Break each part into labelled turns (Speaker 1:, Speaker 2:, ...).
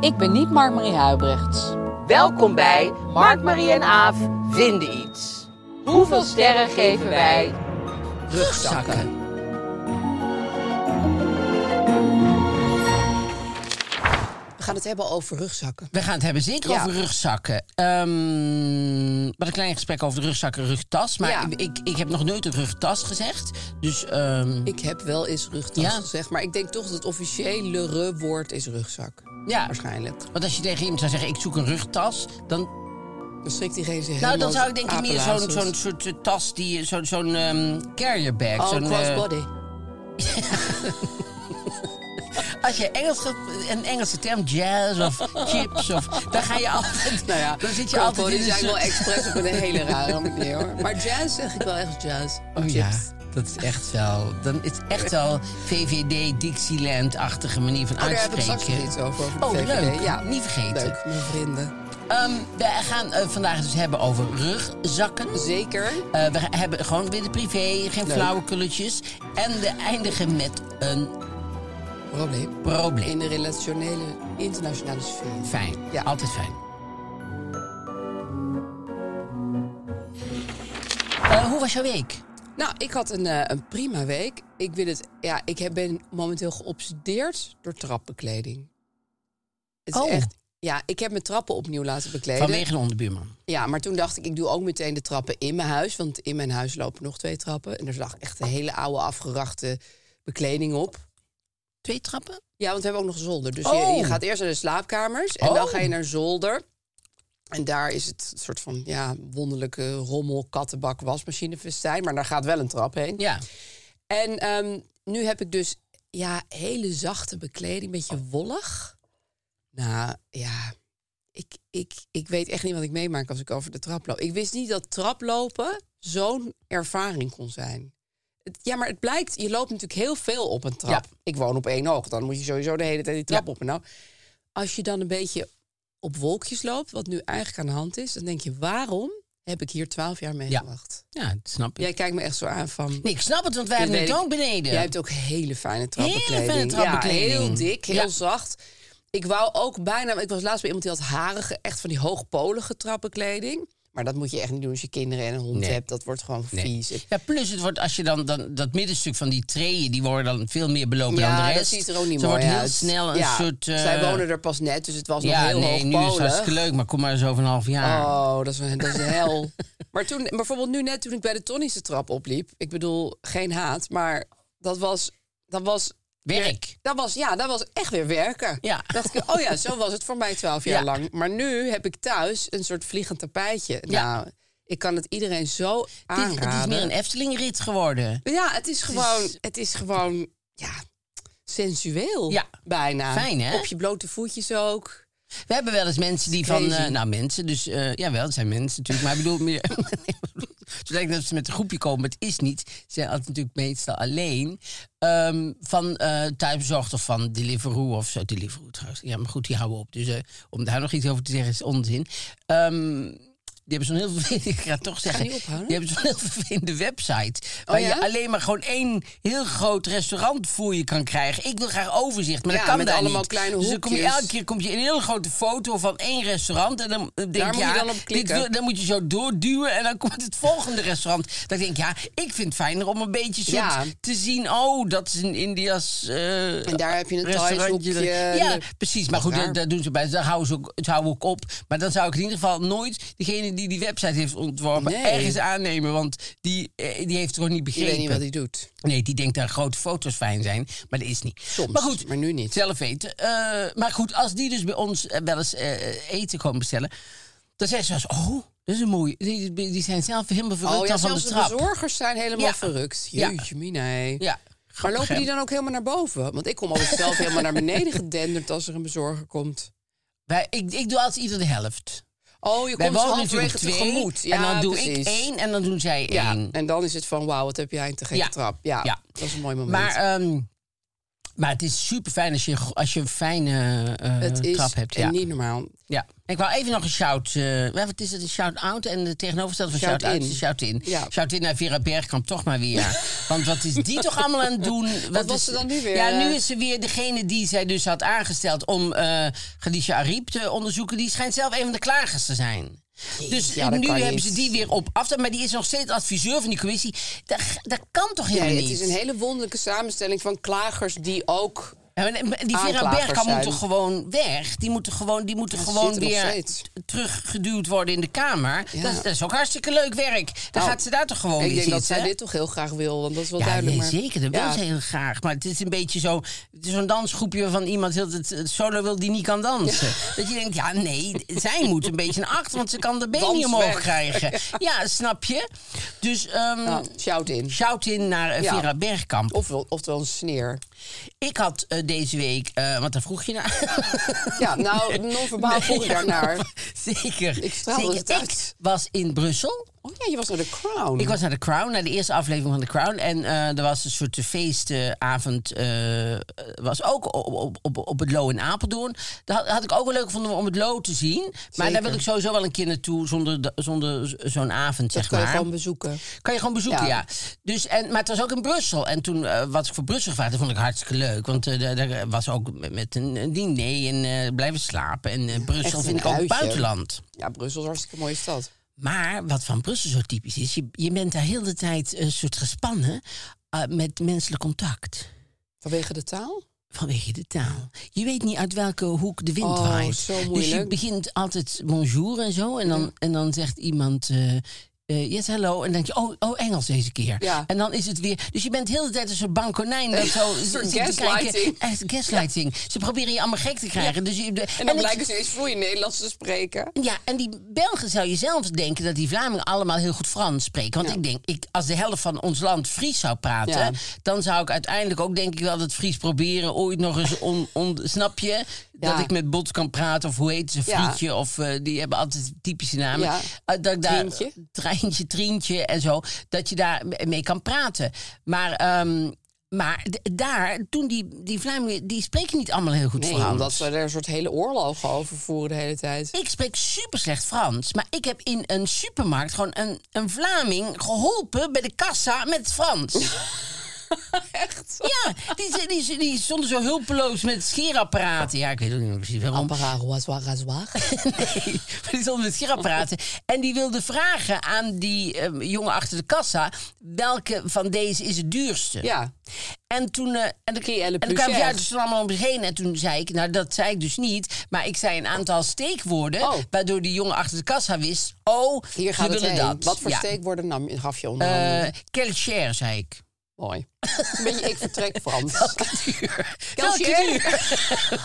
Speaker 1: Ik ben niet Mark-Marie Huibrechts.
Speaker 2: Welkom bij Mark, Marie en Aaf vinden iets. Hoeveel sterren geven wij? Rugzakken.
Speaker 1: We gaan het hebben over rugzakken.
Speaker 3: We gaan het hebben zeker
Speaker 1: Ja.
Speaker 3: over rugzakken. Ehm wat een klein gesprek over de rugzakken, rugtas. Maar
Speaker 1: Ja.
Speaker 3: ik, ik, ik heb nog nooit een rugtas gezegd. Dus ehm,
Speaker 1: Ik heb wel eens rugtas
Speaker 3: Ja.
Speaker 1: gezegd, maar ik denk toch dat het officiële woord is rugzak.
Speaker 3: ja,
Speaker 1: Waarschijnlijk.
Speaker 3: Want als je tegen iemand zou zeggen, ik zoek een rugtas, dan,
Speaker 1: Dan schrikt diegene zich
Speaker 3: nou,
Speaker 1: helemaal
Speaker 3: dan zou ik denk ik meer zo'n
Speaker 1: apelazels.
Speaker 3: zo'n soort eh, tas, die, zo'n zo'n ehm, carrier bag.
Speaker 1: Oh,
Speaker 3: zo'n, eh,
Speaker 1: crossbody.
Speaker 3: als je Engels, ge- een Engelse term, jazz of chips, of, dan ga je altijd,
Speaker 1: Nou ja,
Speaker 3: dan zit je altijd
Speaker 1: crossbody
Speaker 3: in een
Speaker 1: zijn wel
Speaker 3: soort-
Speaker 1: expres op een hele rare manier hoor. Maar jazz zeg ik wel echt jazz.
Speaker 3: Oh
Speaker 1: Chips.
Speaker 3: ja, dat is echt wel. Dan is het echt wel VVD Dixieland-achtige manier van
Speaker 1: Oh, daar heb ik
Speaker 3: uitspreken.
Speaker 1: straks nog iets over. over de
Speaker 3: oh,
Speaker 1: VVD.
Speaker 3: leuk.
Speaker 1: Ja.
Speaker 3: Niet vergeten.
Speaker 1: Leuk, mijn vrienden.
Speaker 3: Ehm, we gaan eh, vandaag dus hebben over rugzakken.
Speaker 1: Zeker.
Speaker 3: Eh, we hebben gewoon weer de privé, geen flauwekulletjes. En we eindigen met een
Speaker 1: Probleem.
Speaker 3: probleem.
Speaker 1: In de relationele, internationale sfeer.
Speaker 3: Fijn,
Speaker 1: Ja.
Speaker 3: altijd fijn. Eh, hoe was jouw week?
Speaker 1: Nou, ik had een, eh, een prima week. Ik, wil het, ja, ik heb, ben momenteel geobsedeerd door trapbekleding. Het is
Speaker 3: Oh.
Speaker 1: echt. Ja, ik heb mijn trappen opnieuw laten bekleden.
Speaker 3: Vanwege de onderbuurman.
Speaker 1: Ja, maar toen dacht ik, ik doe ook meteen de trappen in mijn huis. Want in mijn huis lopen nog twee trappen. En daar lag echt een hele oude afgerachte bekleding op.
Speaker 3: Twee trappen?
Speaker 1: Ja, want we hebben ook nog zolder. Dus je,
Speaker 3: Oh.
Speaker 1: je gaat eerst naar de slaapkamers en dan
Speaker 3: Oh.
Speaker 1: ga je naar zolder. En daar is het soort van ja, wonderlijke rommel, kattenbak, wasmachinefestijn. Maar daar gaat wel een trap heen.
Speaker 3: Ja.
Speaker 1: En ehm, nu heb ik dus ja, hele zachte bekleding, een beetje wollig. Nou ja, ik, ik, ik weet echt niet wat ik meemaak als ik over de trap loop. Ik wist niet dat traplopen zo'n ervaring kon zijn. Het- ja, maar het blijkt, je loopt natuurlijk heel veel op een trap.
Speaker 3: Ja.
Speaker 1: Ik woon op één hoog, dan moet je sowieso de hele tijd die trap
Speaker 3: Ja.
Speaker 1: op. En nou, als je dan een beetje op wolkjes loopt, wat nu eigenlijk aan de hand is, dan denk je, waarom heb ik hier twaalf jaar mee
Speaker 3: Ja.
Speaker 1: gewacht?
Speaker 3: Ja, dat snap ik.
Speaker 1: Jij kijkt me echt zo aan van...
Speaker 3: Nee, ik snap het, want wij
Speaker 1: Dit
Speaker 3: hebben het
Speaker 1: weet ik.
Speaker 3: ook beneden.
Speaker 1: Jij hebt ook hele fijne trapbekleding.
Speaker 3: Hele fijne trapbekleding.
Speaker 1: Ja, heel dik, heel
Speaker 3: Ja.
Speaker 1: zacht. Ik wou ook bijna... Ik was laatst bij iemand die had harige, echt van die hoogpolige trapbekleding. Maar dat moet je echt niet doen als je kinderen en een hond
Speaker 3: Nee.
Speaker 1: hebt. Dat wordt gewoon vies. Ik-
Speaker 3: Ja, plus het wordt, als je dan, dan dat middenstuk van die treien, die worden dan veel meer belopen
Speaker 1: Ja,
Speaker 3: dan de rest.
Speaker 1: dat ziet er ook niet
Speaker 3: Ze
Speaker 1: mooi
Speaker 3: wordt heel
Speaker 1: uit.
Speaker 3: snel een
Speaker 1: Ja,
Speaker 3: soort... eh,
Speaker 1: Zij wonen er pas net, dus het was nog
Speaker 3: Ja,
Speaker 1: heel
Speaker 3: nee, nu is het
Speaker 1: hoogpolig.
Speaker 3: hartstikke leuk, maar kom maar eens over een half jaar.
Speaker 1: Oh, dat is, een- dat is de hel. maar toen, bijvoorbeeld nu net toen ik bij de Tonnische trap opliep. Ik bedoel, geen haat, maar dat was... Dat was
Speaker 3: Werk.
Speaker 1: Dat was, ja, dat was echt weer werken.
Speaker 3: Ja.
Speaker 1: Dacht ik, oh ja, zo was het voor mij twaalf jaar
Speaker 3: Ja.
Speaker 1: lang. Maar nu heb ik thuis een soort vliegend tapijtje.
Speaker 3: Ja.
Speaker 1: Nou, ik kan het iedereen zo
Speaker 3: Het is-
Speaker 1: aanraden.
Speaker 3: het is meer een Efteling-rit geworden.
Speaker 1: Ja, het is gewoon, het is gewoon ja, sensueel
Speaker 3: Ja.
Speaker 1: bijna.
Speaker 3: Fijn, hè?
Speaker 1: Op je blote voetjes ook.
Speaker 3: We hebben wel eens mensen die van...
Speaker 1: Crazy.
Speaker 3: eh, nou, mensen, dus... eh jawel, het zijn mensen natuurlijk, maar ik bedoel meer... Zo lijkt het dat ze met een groepje komen, maar het is niet. Ze zijn altijd natuurlijk meestal alleen. Ehm, van eh thuisbezorgd of van Deliveroo of zo. Deliveroo trouwens. Ja, maar goed, die houden op. Dus eh, om daar nog iets over te zeggen is onzin. Ehm, die hebben zo'n heel vervelende... Ik ga het toch zeggen.
Speaker 1: je ophouden? Oh
Speaker 3: Die hebben zo'n heel vervelende website. Waar
Speaker 1: ja?
Speaker 3: je alleen maar gewoon één heel groot restaurant voor je kan krijgen. Ik wil graag overzicht, maar
Speaker 1: Ja,
Speaker 3: dat kan
Speaker 1: met
Speaker 3: daar
Speaker 1: allemaal
Speaker 3: niet.
Speaker 1: kleine
Speaker 3: Dus dan kom je
Speaker 1: hoekjes.
Speaker 3: elke keer kom je een heel grote foto van één restaurant. En dan denk
Speaker 1: Daar moet je
Speaker 3: ja,
Speaker 1: dan op
Speaker 3: dit
Speaker 1: klikken.
Speaker 3: wil- dan moet je zo doorduwen en dan komt het volgende restaurant. Dan denk ik, ja, ik vind het fijner om een beetje soort
Speaker 1: Ja.
Speaker 3: te zien... oh, dat is een India's eh,
Speaker 1: En daar heb je een
Speaker 3: restaurantje.
Speaker 1: Thais-hoekje.
Speaker 3: Ja, precies. Maar
Speaker 1: Wat
Speaker 3: goed,
Speaker 1: raar.
Speaker 3: dat, dat doen ze bij. Daar houden ze ook, het houden ook op. Maar dan zou ik in ieder geval nooit degene die die website heeft ontworpen
Speaker 1: Nee.
Speaker 3: ergens aannemen. Want die, eh, die heeft het gewoon niet
Speaker 1: Je
Speaker 3: begrepen.
Speaker 1: weet niet wat hij doet.
Speaker 3: Nee, die denkt dat grote foto's fijn zijn, maar dat is niet.
Speaker 1: Soms,
Speaker 3: maar goed,
Speaker 1: maar nu niet.
Speaker 3: Zelf weten. Eh, maar goed, als die dus bij ons eh, wel eens eh, eten komen bestellen, dan zeggen ze wel eens, oh, dat is een mooie. Die, die zijn zelf helemaal verrukt
Speaker 1: Oh ja,
Speaker 3: dan van de
Speaker 1: zelfs de,
Speaker 3: trap.
Speaker 1: bezorgers zijn helemaal
Speaker 3: Ja.
Speaker 1: verrukt.
Speaker 3: Ja.
Speaker 1: Jeetje, mina. hé.
Speaker 3: Ja,
Speaker 1: Maar
Speaker 3: grappig,
Speaker 1: lopen
Speaker 3: hè?
Speaker 1: die dan ook helemaal naar boven? Want ik kom altijd zelf helemaal naar beneden gedenderd als er een bezorger komt.
Speaker 3: Wij, ik, ik doe altijd ieder de helft.
Speaker 1: Oh, je
Speaker 3: Wij
Speaker 1: komt
Speaker 3: wonen
Speaker 1: halverwege
Speaker 3: natuurlijk twee,
Speaker 1: tegemoet. Ja,
Speaker 3: en dan doe
Speaker 1: precies.
Speaker 3: ik één en dan doen zij
Speaker 1: Ja,
Speaker 3: één.
Speaker 1: en dan is het van, wauw, wat heb jij een te gekke
Speaker 3: Ja.
Speaker 1: trap. Ja,
Speaker 3: Ja.
Speaker 1: dat is een mooi moment.
Speaker 3: Maar, ehm, maar het is super fijn als je, als je een fijne eh,
Speaker 1: het is
Speaker 3: trap hebt. Ja.
Speaker 1: niet normaal.
Speaker 3: ja. Ik wou even nog een shout. eh, wat is het? Een shout-out en de tegenovergestelde van
Speaker 1: Shout
Speaker 3: shout-out
Speaker 1: in.
Speaker 3: is een shout-in.
Speaker 1: Ja.
Speaker 3: Shout-in naar Vera Bergkamp toch maar weer. Want wat is die toch allemaal aan het doen? Wat,
Speaker 1: was
Speaker 3: is-
Speaker 1: ze dan nu weer?
Speaker 3: Ja, nu is ze weer degene die zij dus had aangesteld om eh Khadija Ariep te onderzoeken. Die schijnt zelf een van de klagers te zijn. Dus
Speaker 1: ja, dat
Speaker 3: nu
Speaker 1: kan
Speaker 3: hebben
Speaker 1: niet.
Speaker 3: ze die weer op af. Maar die is nog steeds adviseur van die commissie. Dat, dat kan toch helemaal
Speaker 1: Nee,
Speaker 3: niet?
Speaker 1: het is een hele wonderlijke samenstelling van klagers die ook...
Speaker 3: Ja, maar die Vera
Speaker 1: Aanklagers
Speaker 3: Bergkamp
Speaker 1: zijn.
Speaker 3: moet toch gewoon weg? Die moeten gewoon, die moeten
Speaker 1: Ja, ze
Speaker 3: gewoon
Speaker 1: zit er nog
Speaker 3: weer
Speaker 1: steeds.
Speaker 3: t- teruggeduwd worden in de Kamer.
Speaker 1: Ja.
Speaker 3: Dat, is- dat is ook hartstikke leuk werk. Dan
Speaker 1: Nou,
Speaker 3: gaat ze daar toch gewoon
Speaker 1: ik
Speaker 3: weer
Speaker 1: denk dat
Speaker 3: zitten?
Speaker 1: zij dit toch heel graag wil, want dat is wel
Speaker 3: ja,
Speaker 1: duidelijk.
Speaker 3: nee,
Speaker 1: maar-
Speaker 3: zeker. Dat
Speaker 1: Ja.
Speaker 3: wil ze heel graag. Maar het is een beetje zo... Het is zo'n dansgroepje waarvan iemand heel het, het solo wil die niet kan dansen. Dat je denkt, ja nee, zij moet een beetje een acht... want ze kan de been
Speaker 1: Dans
Speaker 3: niet omhoog
Speaker 1: weg.
Speaker 3: krijgen. Ja, snap je? Dus ehm,
Speaker 1: Ja, shout in.
Speaker 3: shout in naar eh,
Speaker 1: Ja.
Speaker 3: Vera Bergkamp.
Speaker 1: Of, oftewel een sneer.
Speaker 3: Ik had eh, deze week, eh, want daar vroeg je naar.
Speaker 1: Ja, nou, non-verbaal vroeg ik daarnaar.
Speaker 3: Zeker.
Speaker 1: Ik straal
Speaker 3: Zeker.
Speaker 1: het uit.
Speaker 3: Ik was in Brussel.
Speaker 1: Oh ja, je was naar de Crown.
Speaker 3: Ik was naar de Crown, naar de eerste aflevering van de Crown. En eh, er was een soort feestavond. eh, was ook op, op, op, op het Loo in Apeldoorn. Dat had, had ik ook wel leuk gevonden om het Loo te zien. Maar daar wil ik sowieso wel een keer naartoe zonder, da- zonder z- zo'n avond,
Speaker 1: Dat
Speaker 3: zeg
Speaker 1: kan je
Speaker 3: maar.
Speaker 1: gewoon bezoeken.
Speaker 3: Kan je gewoon bezoeken,
Speaker 1: Ja.
Speaker 3: ja. Dus, en, maar het was ook in Brussel. En toen eh, wat ik voor Brussel gevraagd, dat vond ik hartstikke leuk. Want eh, daar- daar was ook met, met een, een diner en eh, blijven slapen. En eh, Brussel
Speaker 1: een
Speaker 3: vind ik ook
Speaker 1: uitje.
Speaker 3: buitenland.
Speaker 1: Ja, Brussel is hartstikke mooie stad.
Speaker 3: Maar wat van Brussel zo typisch is, je, je bent daar heel de tijd een soort gespannen eh, met menselijk contact.
Speaker 1: Vanwege de taal?
Speaker 3: Vanwege de taal. Je weet niet uit welke hoek de wind
Speaker 1: Oh,
Speaker 3: waait.
Speaker 1: zo
Speaker 3: Dus je
Speaker 1: moeilijk.
Speaker 3: begint altijd bonjour en zo. En dan, en dan zegt iemand. eh, eh, yes, hello. En dan denk je, oh, oh, Engels deze keer.
Speaker 1: Ja.
Speaker 3: En dan is het weer... Dus je bent de hele tijd een soort bankonijn. Dat zo
Speaker 1: Een soort
Speaker 3: zit te
Speaker 1: gaslighting.
Speaker 3: kijken. Echt gaslighting. Ze proberen je allemaal gek te krijgen. Dus je, en
Speaker 1: En dan
Speaker 3: ik-
Speaker 1: blijken ze eens vloeiend Nederlands te spreken.
Speaker 3: ja, en die Belgen zou je zelf denken dat die Vlamingen allemaal heel goed Frans spreken. Want ik denk, ik, als de helft van ons land Fries zou praten,
Speaker 1: Ja.
Speaker 3: dan zou ik uiteindelijk ook denk ik wel dat Fries proberen ooit nog eens on, on- snap je? Dat
Speaker 1: Ja.
Speaker 3: ik met Bot kan praten of hoe heet ze,
Speaker 1: Ja.
Speaker 3: Frietje of eh, die hebben altijd typische namen.
Speaker 1: Ja.
Speaker 3: Eh, dat ik daar,
Speaker 1: Trientje.
Speaker 3: Treintje, Trientje en zo, dat je daar m- mee kan praten. Maar, ehm, maar d- daar, toen die, die Vlamingen, die spreken niet allemaal heel goed
Speaker 1: Nee,
Speaker 3: Frans.
Speaker 1: omdat ze er een soort hele oorlog over voeren de hele tijd.
Speaker 3: Ik spreek super slecht Frans, maar ik heb in een supermarkt gewoon een, een Vlaming geholpen bij de kassa met het Frans.
Speaker 1: Echt?
Speaker 3: ja, die, die, die stonden zo hulpeloos met scheerapparaten. Ja, ik weet ook niet meer precies waarom.
Speaker 1: Apparaat, razoir, razoir.
Speaker 3: Nee, maar die stonden met scheerapparaten. En die wilde vragen aan die ehm, jongen achter de kassa: welke van deze is het duurste?
Speaker 1: Ja,
Speaker 3: En toen, eh, en dan,
Speaker 1: Qui est le
Speaker 3: en dan
Speaker 1: plus
Speaker 3: kwam
Speaker 1: cher?
Speaker 3: jij dus allemaal om zich heen. En toen zei ik, nou dat zei ik dus niet. Maar ik zei een aantal steekwoorden.
Speaker 1: Oh.
Speaker 3: Waardoor die jongen achter de kassa wist. Oh,
Speaker 1: hier gaat
Speaker 3: ze
Speaker 1: het
Speaker 3: willen
Speaker 1: heen.
Speaker 3: dat.
Speaker 1: Wat voor
Speaker 3: Ja.
Speaker 1: steekwoorden nam, je- gaf je onder andere?
Speaker 3: Eh, quel cher, zei ik.
Speaker 1: Mooi. Een beetje ik vertrek Frans.
Speaker 3: Welke duur?
Speaker 1: Quel
Speaker 3: Welke
Speaker 1: cher?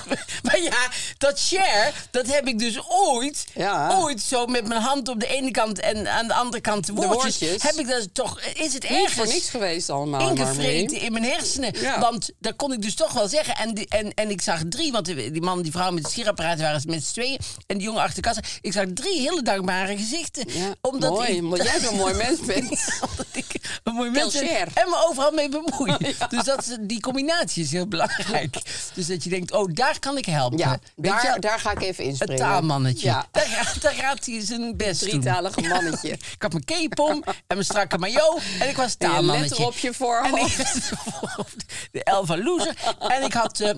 Speaker 3: duur? maar ja, dat share, dat heb ik dus ooit,
Speaker 1: Ja.
Speaker 3: ooit zo met mijn hand op de ene kant en aan de andere kant de woordjes.
Speaker 1: woordjes.
Speaker 3: Heb ik dat toch, is het
Speaker 1: Niet
Speaker 3: ergens?
Speaker 1: voor niks geweest allemaal, Marmarie.
Speaker 3: ingevreten in mijn hersenen.
Speaker 1: Ja.
Speaker 3: Want dat kon ik dus toch wel zeggen. En, die- en, en ik zag drie, want die die man en die vrouw met de sierapparaten waren met z'n tweeën. En die jongen achter de kassa. Ik zag drie hele dankbare gezichten.
Speaker 1: Ja,
Speaker 3: omdat
Speaker 1: mooi,
Speaker 3: ik,
Speaker 1: omdat jij zo'n mooi mens bent.
Speaker 3: omdat ik een mooi mens ben.
Speaker 1: Kelsier.
Speaker 3: En me overal mee bemoei. groeien. Dus dat, is- die combinatie is heel belangrijk. Dus dat je denkt, oh, daar kan ik helpen.
Speaker 1: Ja,
Speaker 3: Weet je wel,
Speaker 1: daar, daar ga ik even
Speaker 3: Het
Speaker 1: inspringen.
Speaker 3: taalmannetje.
Speaker 1: Ja.
Speaker 3: Daar, ga- daar gaat hij zijn best doen.
Speaker 1: Drietalige mannetje.
Speaker 3: ik had mijn cape om en mijn strakke maillot. En ik was
Speaker 1: En je
Speaker 3: taalmannetje.
Speaker 1: letter op je
Speaker 3: En ik-
Speaker 1: voorhoofd.
Speaker 3: de Elva Loeser. En ik had, eh,